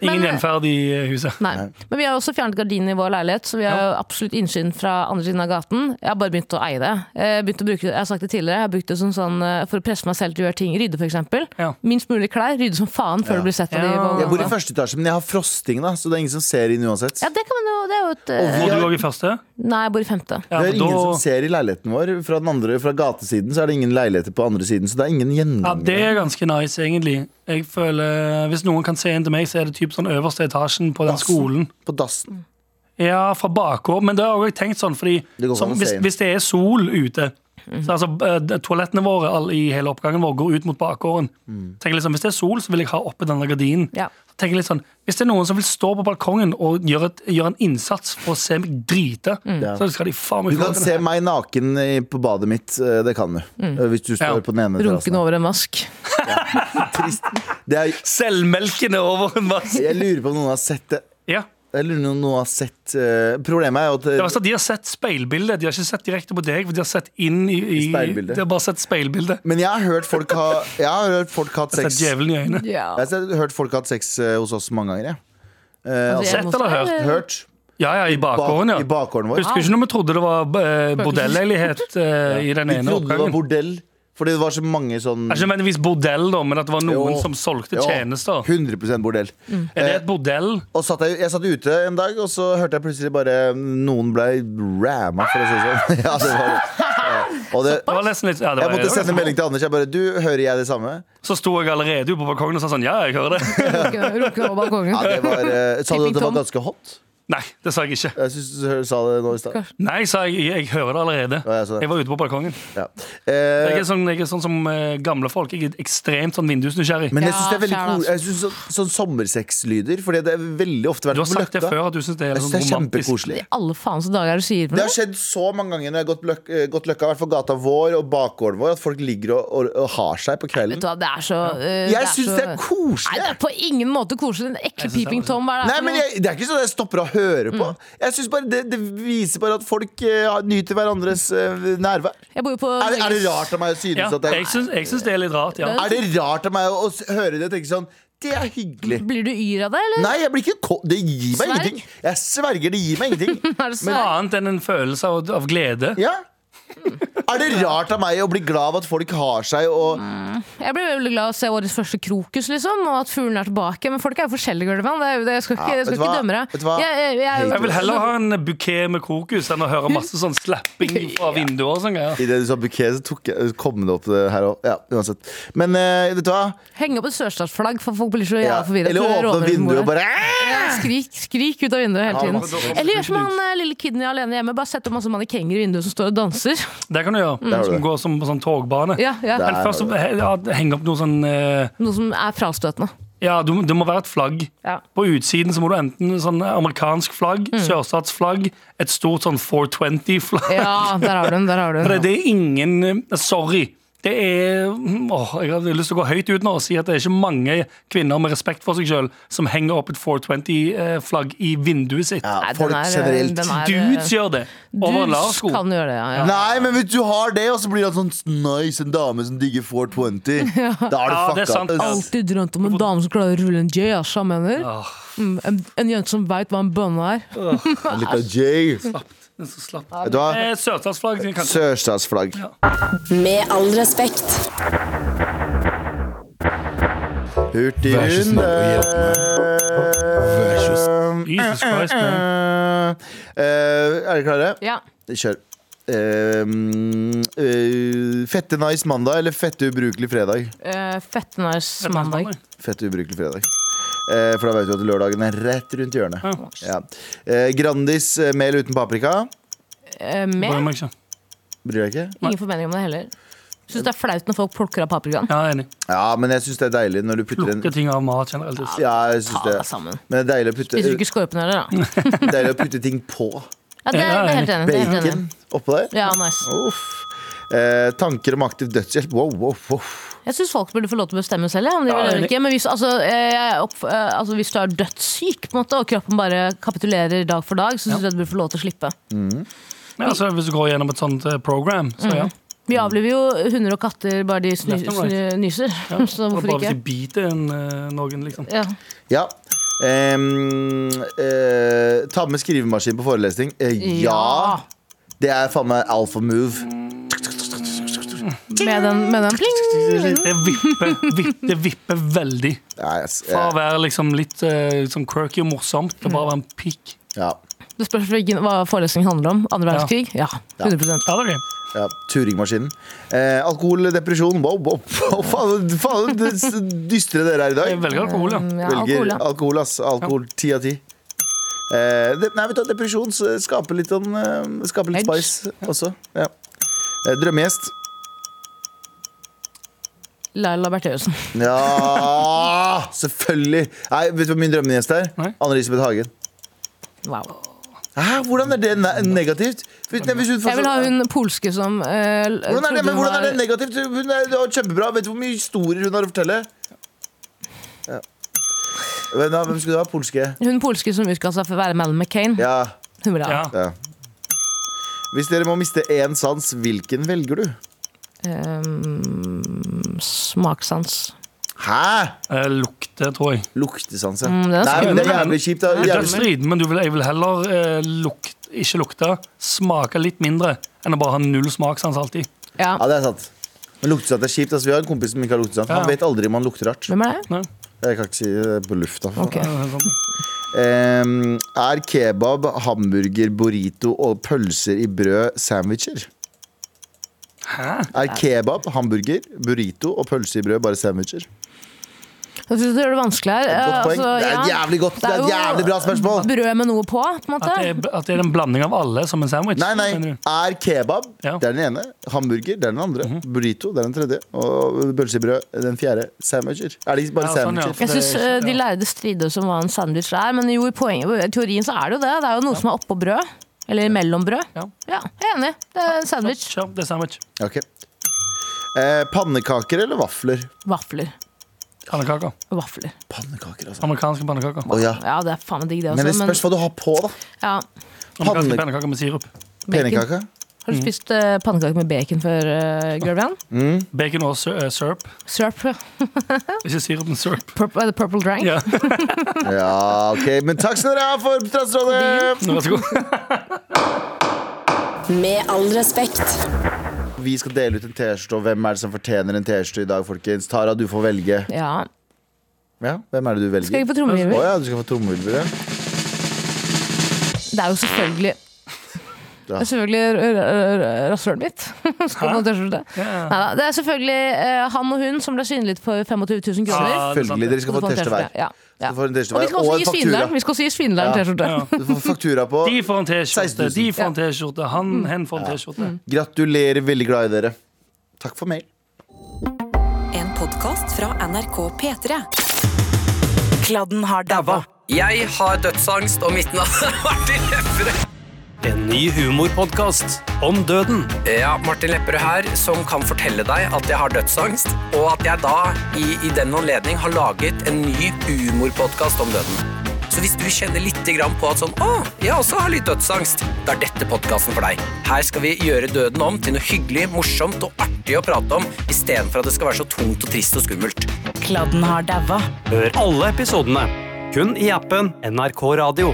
D: Ingen
C: Men- eh,
D: gjenferd i eh, huset.
C: Nei. Men vi har også fjernet gardinen i vår leilighet, så vi har jo absolutt innsyn fra andre siden av gaten. Jeg har bare begynt å eie det. Jeg, begynte å bruke, det- jeg har sagt det tidligere, jeg har brukt det som sånn eh, for å presse meg selv til å gjøre ting. Rydde, f.eks.
D: Ja.
C: Minst mulig klær. Rydde som faen før
B: Ja.
C: det blir sett av de.
D: Ja.
B: Jeg bor i
C: våre-
B: første etasje, men jeg har frosting, da så det er ingen som ser inn uansett.
C: Ja, det kan man jo Det er jo et eh,
D: Bor du òg i første?
C: Nei, jeg bor i femte.
D: Ja,
B: Det er
D: for
B: ingen som
D: da,
B: ser i leiligheten vår. Fra, den andre, fra gatesiden så er det ingen leiligheter på andre siden, så det er ingen
D: ja,
B: gjengang.
D: det er ganske nice, egentlig. Jeg føler, eh, Hvis noen kan se inn til meg, så er det typ sånn øverste etasjen på den
B: Dassen.
D: skolen.
B: På dassen.
D: Ja, fra bakgård. Men det har jeg også tenkt sånn, fordi
B: Det går ikke
D: som,
B: an å se
D: hvis,
B: inn.
D: hvis det er sol ute så altså, eh, de- Toalettene våre all, i hele oppgangen vår går ut mot bakgården.
B: Mm.
D: Tenk litt sånn, hvis det er sol, så vil jeg ha oppe denne gardinen.
C: Ja.
D: Så tenker jeg litt sånn, hvis det er noen som vil stå på balkongen og gjøre, et, gjøre en innsats for å se meg drite, så skal de faen meg
B: Mm. Du kan
D: få lov til
B: se
D: det.
B: meg naken i- på badet mitt, eh, det kan du. Eh, Hvis du står
D: Ja.
B: på den ene
C: Mm. Runken
B: terrassen.
C: over en vask.
B: Trist. Det er,
D: Selvmelkende over en vass.
B: jeg lurer på om noen har sett det.
D: Ja.
B: Jeg lurer på om noen har sett eh, Problemet er jo at
D: Det er altså, at de har sett speilbildet, de har ikke sett direkte på deg, for de har sett inn i, i
B: I speilbildet.
D: De har bare sett speilbildet.
B: Men jeg har hørt folk ha Jeg har hørt folk ha hatt
D: Sett
B: sex Jeg
D: djevelen i øynene.
C: Ja.
B: har sett- hørt folk ha hatt sex eh, hos oss mange ganger, jeg. Eh, altså,
D: Sett eller hørt?
B: hørt
D: Ja, ja, i
B: bak,
D: bakgården, ja.
B: i bakgården vår.
D: Husker ikke når vi trodde det var eh, bordelleilighet eh, i den
B: Vi trodde det
D: ene
B: var
D: oppgangen.
B: bordell, fordi det var så mange sånn
D: Det er Ikke nødvendigvis bordell, da, men at det var noen
B: Jo.
D: som solgte
B: Jo,
D: tjenester.
B: 100 bordell.
D: Er det et bordell?
B: Og satt jeg, jeg satt ute en dag, og så hørte jeg plutselig bare noen ble ramma, for å si det sånn. Ja, det var, ja. Og det,
D: Det var nesten litt, ja, det
B: jeg
D: var,
B: måtte sende melding til Anders. Jeg bare, du, hører jeg det samme?
D: Så sto jeg allerede ute på balkongen og sa sånn Ja, jeg hører det.
C: Runke over balkongen.
B: Ja, det var, eh, sa du at det var
C: Tipping-tom.
B: ganske hot?
D: Nei, det sa jeg ikke.
B: Jeg syns du hø- sa det nå i stad.
D: Nei, sa jeg. Jeg hører det allerede.
B: Ja, jeg så det.
D: Jeg var ute på balkongen.
B: Ja.
D: Jeg
B: Eh,
D: er sånn, jeg er sånn som eh, gamle folk. Jeg er ekstremt sånn vindusnysgjerrig.
B: men jeg syns
C: Ja,
B: det er veldig
C: skjær,
B: cool.
C: altså.
B: Jeg synes sånn, sånn sommersexlyder. Fordi det er veldig ofte
D: Du
B: vært
D: har sagt det før at du syns det er
B: Jeg
D: sånn
B: synes det er
D: romantisk.
B: kjempekoselig.
C: Alle faens dager du sier
B: Det
C: det.
B: har skjedd så mange ganger når jeg har gått, løk, eh, gått løkka, i hvert fall gata vår og bakgården vår, at folk ligger og, og, og har seg på
C: Vet
B: kvelden.
C: du hva, det er så uh,
B: Jeg syns det er
C: Nei, det
B: koselig!
C: er på ingen måte koselig. Den
D: Jeg
C: ekle
D: synes det er
C: Peeping Tom. Hva er det
B: Nei,
C: for
B: men
C: noe?
B: jeg, Det er ikke sånn at jeg stopper å høre
D: Mm.
B: på. Jeg synes bare det, det viser bare at folk eh, nyter hverandres eh, nærvær.
C: Jeg bor jo på
B: Er, det- er det rart av meg å synes
D: Ja,
B: at det
D: jeg syns jeg syns det er litt rart, ja.
C: Det-
B: Er det rart av meg å, å s- høre det og tenke sånn Det er hyggelig.
C: Blir du yr av det, eller?
B: Nei, jeg blir ikke ko det gir meg
C: Sverg?
B: ingenting. Jeg sverger, det gir meg ingenting.
C: Er det så-
D: Annet enn en følelse av, av glede.
B: Ja Er det rart av meg å bli glad av at folk har seg og
C: Jeg ble veldig glad å se årets første krokus, liksom, og at fuglen er tilbake. Men folk er jo forskjellige, Gullivan. Det er jo- det- Jeg skal ikke,
B: Ja,
C: jeg skal
B: vet du
C: ikke
B: hva?
C: dømme
B: Vet
C: deg.
B: du hva?
C: Jeg, jeg, jeg,
D: Jeg vil heller ha en bukett med krokus enn å høre masse sånn slapping fra vinduer. og sånn greier.
B: I det du sa bukett, så tok jeg, kom det opp det her òg. Ja, uansett. Men eh, vet du hva?
C: henge opp et sørstatsflagg, for folk blir så jævla
B: Ja.
C: forvirret.
B: Eller
C: at du
B: åpne
C: råner
B: vinduet
C: bordet.
B: og bare
C: Ja, Skrik, skrik ut av vinduet hele
B: Ja, da-
C: tiden.
B: da kommer
C: Eller gjør som han eh, lille kiden i alene hjemme. Bare sett opp masse mannekenger i vinduet som står og danser.
D: Det kan du gjøre.
B: har du det.
D: Som går som på sånn togbane.
C: Ja, ja.
B: Der.
D: Men først så he- ja, henge opp noe sånn eh,
C: Noe som er frastøtende.
D: Ja, du, det må være et flagg.
C: Ja.
D: På utsiden så må du enten sånn amerikansk flagg, sørstatsflagg, et stort sånn 420-flagg.
C: Ja, der har du den. Der har du
D: For det,
C: den.
D: det er ingen eh, Sorry. Det er mm, åh, Jeg har lyst til å gå høyt ut nå og si at det er ikke mange kvinner med respekt for seg sjøl som henger opp et 420-flagg i vinduet sitt.
B: ja,
C: Nei, den
B: Folk
C: er- eh,
B: generelt.
C: den er-
D: Dudes gjør det. Over en lav
C: Dudes
D: sko.
C: kan gjøre det, ja. ja.
B: Nei, men hvis du har det, og så blir han sånn nice, en dame som digger 420, da er det
D: Ja, det er
B: fucka.
D: sant, ass.
C: Alltid drømt om en dame som klarer å rulle en J, ass, jeg mener.
B: Ah.
C: Mm, en, en jente som veit hva en bønne er.
B: Jeg liker Jay.
D: Det er så slapt.
B: Vet du hva?
D: Eh, Sørstatsflagg kanskje.
B: Sørstatsflagg.
A: Med all respekt.
B: Hurtig
G: Vær så snill
B: runde.
G: og hjelp Vær så snill.
D: Jesus Christ, man.
B: Eh, er dere klare?
C: Ja.
B: Kjør. Eh, mm, eh, fette nice mandag eller fette ubrukelig fredag?
C: Uh, Fettenærs mandag.
B: Fette ubrukelig fredag. Eh, for da vet du at lørdagen er rett rundt hjørnet. Ja. Eh, grandis eh, mel uten paprika.
C: Eh,
D: Bryr
C: med.
D: meg ikke.
B: Bryr deg ikke?
C: Ingen formening om det heller. Syns det er flaut når folk plukker av paprikaen.
D: Ja, jeg er enig.
B: Ja, men jeg syns det er deilig når du putter en
D: Plukke ting av mat generelt.
B: ja, jeg synes
C: Ta
B: det.
C: deg sammen.
B: Men det er deilig å
C: Spiser du
B: putte,
C: ikke skorpen heller, da?
B: deilig å putte ting på.
C: Ja, det er jeg helt enig. i, Det er jeg helt enig.
B: Bacon
C: i.
B: oppå der.
C: Ja, nice.
B: Uff. Eh, tanker om aktiv dødshjelp. Wow, wow, wow.
C: Jeg syns folk burde få lov til å bestemme selv. Ja, om de
D: Ja,
C: vil eller
D: enig.
C: ikke. Men hvis, altså, eh, jeg er opp, eh, altså, hvis du er dødssyk på en måte, og kroppen bare kapitulerer dag for dag, så syns jeg du burde få lov til å slippe.
D: Ja, altså, hvis du går gjennom et sånt eh, program, så ja.
C: Vi avliver jo hunder og katter bare de sny,
D: Left and
C: sny, nyser. Så
D: Bare
C: hvorfor
D: hvis
C: ikke?
D: de biter en, eh, noen, liksom.
C: Ja.
B: Ja. Ehm, eh, ta med skrivemaskin på forelesning. Eh, ja. Det er faen meg alpha move.
C: Med den, med den pling!
D: Det vipper, vip- det vipper veldig.
B: Nei, ass,
D: Fra å
B: eh,
D: være liksom litt eh, liksom quirky og morsomt til bare å være en pikk.
B: ja,
C: Det spørs hvilken- hva forelesningen handler om. Andre verdenskrig? Ja. 100
D: Ja, det er gøy.
B: ja. Turingmaskinen. Eh, alkohol, depresjon. Wow, wow, wow. Faen, faen det s- dystre dere er i
D: Jeg
B: dag.
D: velger alkohol, ja.
C: Ja, alkohol,
B: Velger
C: ja.
B: alkohol, ass. Alkohol ti av ti. Eh, det- nei, vet du, hva, depresjon s- skaper litt, sånn, eh, skaper litt
C: Edge.
B: spice også. Ja. Eh, drømmegjest.
C: Laila Bertheussen.
B: Ja, selvfølgelig. Nei, vet du hva min drømmegjest er?
D: Nei.
B: Anne-Elisabeth Hagen.
C: Wow.
B: Hæ, hvordan er det ne negativt? Hvis, nei, hvis hun får-
C: Jeg vil ha hun polske som eh, l-
B: Hvordan er, det,
C: trodde
B: men,
C: hun
B: hvordan er det
C: var-
B: negativt? Hun er, det er kjempebra. Vet du hvor mye historier hun har å fortelle? Ja. Men, da, hvem skulle du ha? Polske?
C: Hun polske som utga seg for å være Mel McCain.
B: Ja,
C: Hun vil ha
D: Ja.
B: ja. Hvis dere må miste én sans, hvilken velger du?
C: ehm, smakssans.
B: Hæ?
D: Eh, Lukte, tror jeg.
B: Luktesans, ja.
C: Mm, det er
B: nei, men det er jævlig kjipt. Da.
D: Det er
B: Jævlig.
D: striden, men du vil, jeg vil heller eh, lukt, ikke lukte, smake litt mindre enn å bare ha null smakssans alltid.
C: Ja.
B: Ja, det er sant. Men luktesans er kjipt. Altså, vi har en kompis som ikke har luktesans.
D: Ja.
B: Han vet aldri om han lukter rart.
C: Hvem er det?
D: Nei.
B: Jeg kan ikke si det på lufta.
C: Ok.
D: Eh, sånn.
B: Ehm, er kebab, hamburger, burrito og pølser i brød sandwicher? Er kebab, hamburger, burrito og pølse i brød bare sandwicher?
C: Jeg synes du gjør det vanskelig her.
B: Godt poeng.
C: Altså,
B: Det er
C: ja.
B: et jævlig godt, det er et
C: jo
B: jævlig bra spørsmål!
D: Mm.
C: Brød med noe på, på en måte.
D: At det, er, at det er en blanding av alle som en sandwich.
B: Nei, nei.
D: mener du?
B: Er kebab
D: Ja. Mhm.
B: det er den ene. Hamburger det er den andre. Burrito det er den tredje. Og pølsebrød den fjerde. Sandwicher. Er det ikke bare
D: Ja, sånn, ja.
B: sandwicher?
C: Jeg syns
D: Det er-
C: de lærde strides om hva en sandwich er, men jo, i, poenget, i teorien så er det jo det. Det er jo noe som er oppå brød. Eller mellom brød.
D: Ja.
C: Ja, jeg er enig. Det er en sandwich.
D: Kjør, det er sandwich.
B: Ok. Eh, pannekaker eller vafler?
C: Vafler.
D: Pannekaker.
C: Vafler.
B: Pannekaker, altså.
D: Amerikanske pannekaker.
B: Å ja. altså,
C: Ja, det er faen meg digg, det også.
B: Men det spørs hva du har på, da.
C: ja,
D: Amerikanske
B: Panne-
D: pannekaker med sirup.
C: bacon.
B: Pennekake.
C: Har
D: Mm.
C: du spist uh, pannekaker med bacon før, uh, Gørvian?
D: Bacon og syr- eh, syrup.
C: Syrup? ja.
D: Ikke sirup, men syrup.
C: Purple, eh, purple drank?
D: Ja,
B: Ja, ok. Men takk skal dere ha for Trassrådet!
D: vær så god.
A: Med all respekt.
B: Vi skal dele ut en T-skjorte, og hvem er det som fortjener en T-skjorte i dag, folkens? Tara, du får velge.
C: Ja.
B: Ja, Hvem er det du
C: Skal
B: velger?
C: jeg få
B: Å
C: trommevirvel?
B: ja, du skal få trommevirvel, ja.
C: Det er jo selvfølgelig
B: Ja.
C: Det er selvfølgelig r- r- r- rasshølet mitt. Skal man tørre det? Neida, det er selvfølgelig eh, han og hun som ble synlighet for 25 000
D: Ja,
C: kroner.
D: det er sant,
B: Selvfølgelig.
D: det.
B: Dere Ah, skal få en T-skjorte hver.
C: Ja, ja.
B: Du får en
C: Og vi
B: T-skjorte
C: skal
B: hver,
C: også
B: og
C: gi
B: en faktura.
C: svindleren, vi skal også gi svindleren
B: Ja.
C: T-skjorte.
B: Du får faktura på.
D: De får en
B: 16
D: T-skjorte,
B: 000.
D: de får en T-skjorte, han hen får en T-skjorte.
B: Gratulerer, veldig glad i dere. Takk for mail.
H: En podkast fra NRK P3.
E: Kladden har dabba.
F: Jeg har dødsangst, og mitt navn er Martin Lepperød.
I: En ny humorpodkast om døden.
F: Ja, Martin Lepperød her, som kan fortelle deg at jeg har dødsangst, og at jeg da, i, i den anledning, har laget en ny humorpodkast om døden. Så hvis du kjenner litt grann på at sånn, å, jeg også har litt dødsangst, da er dette podkasten for deg. Her skal vi gjøre døden om til noe hyggelig, morsomt og artig å prate om, istedenfor at det skal være så tungt og trist og skummelt.
E: Kladden har dabba.
I: Hør alle episodene kun i appen NRK Radio.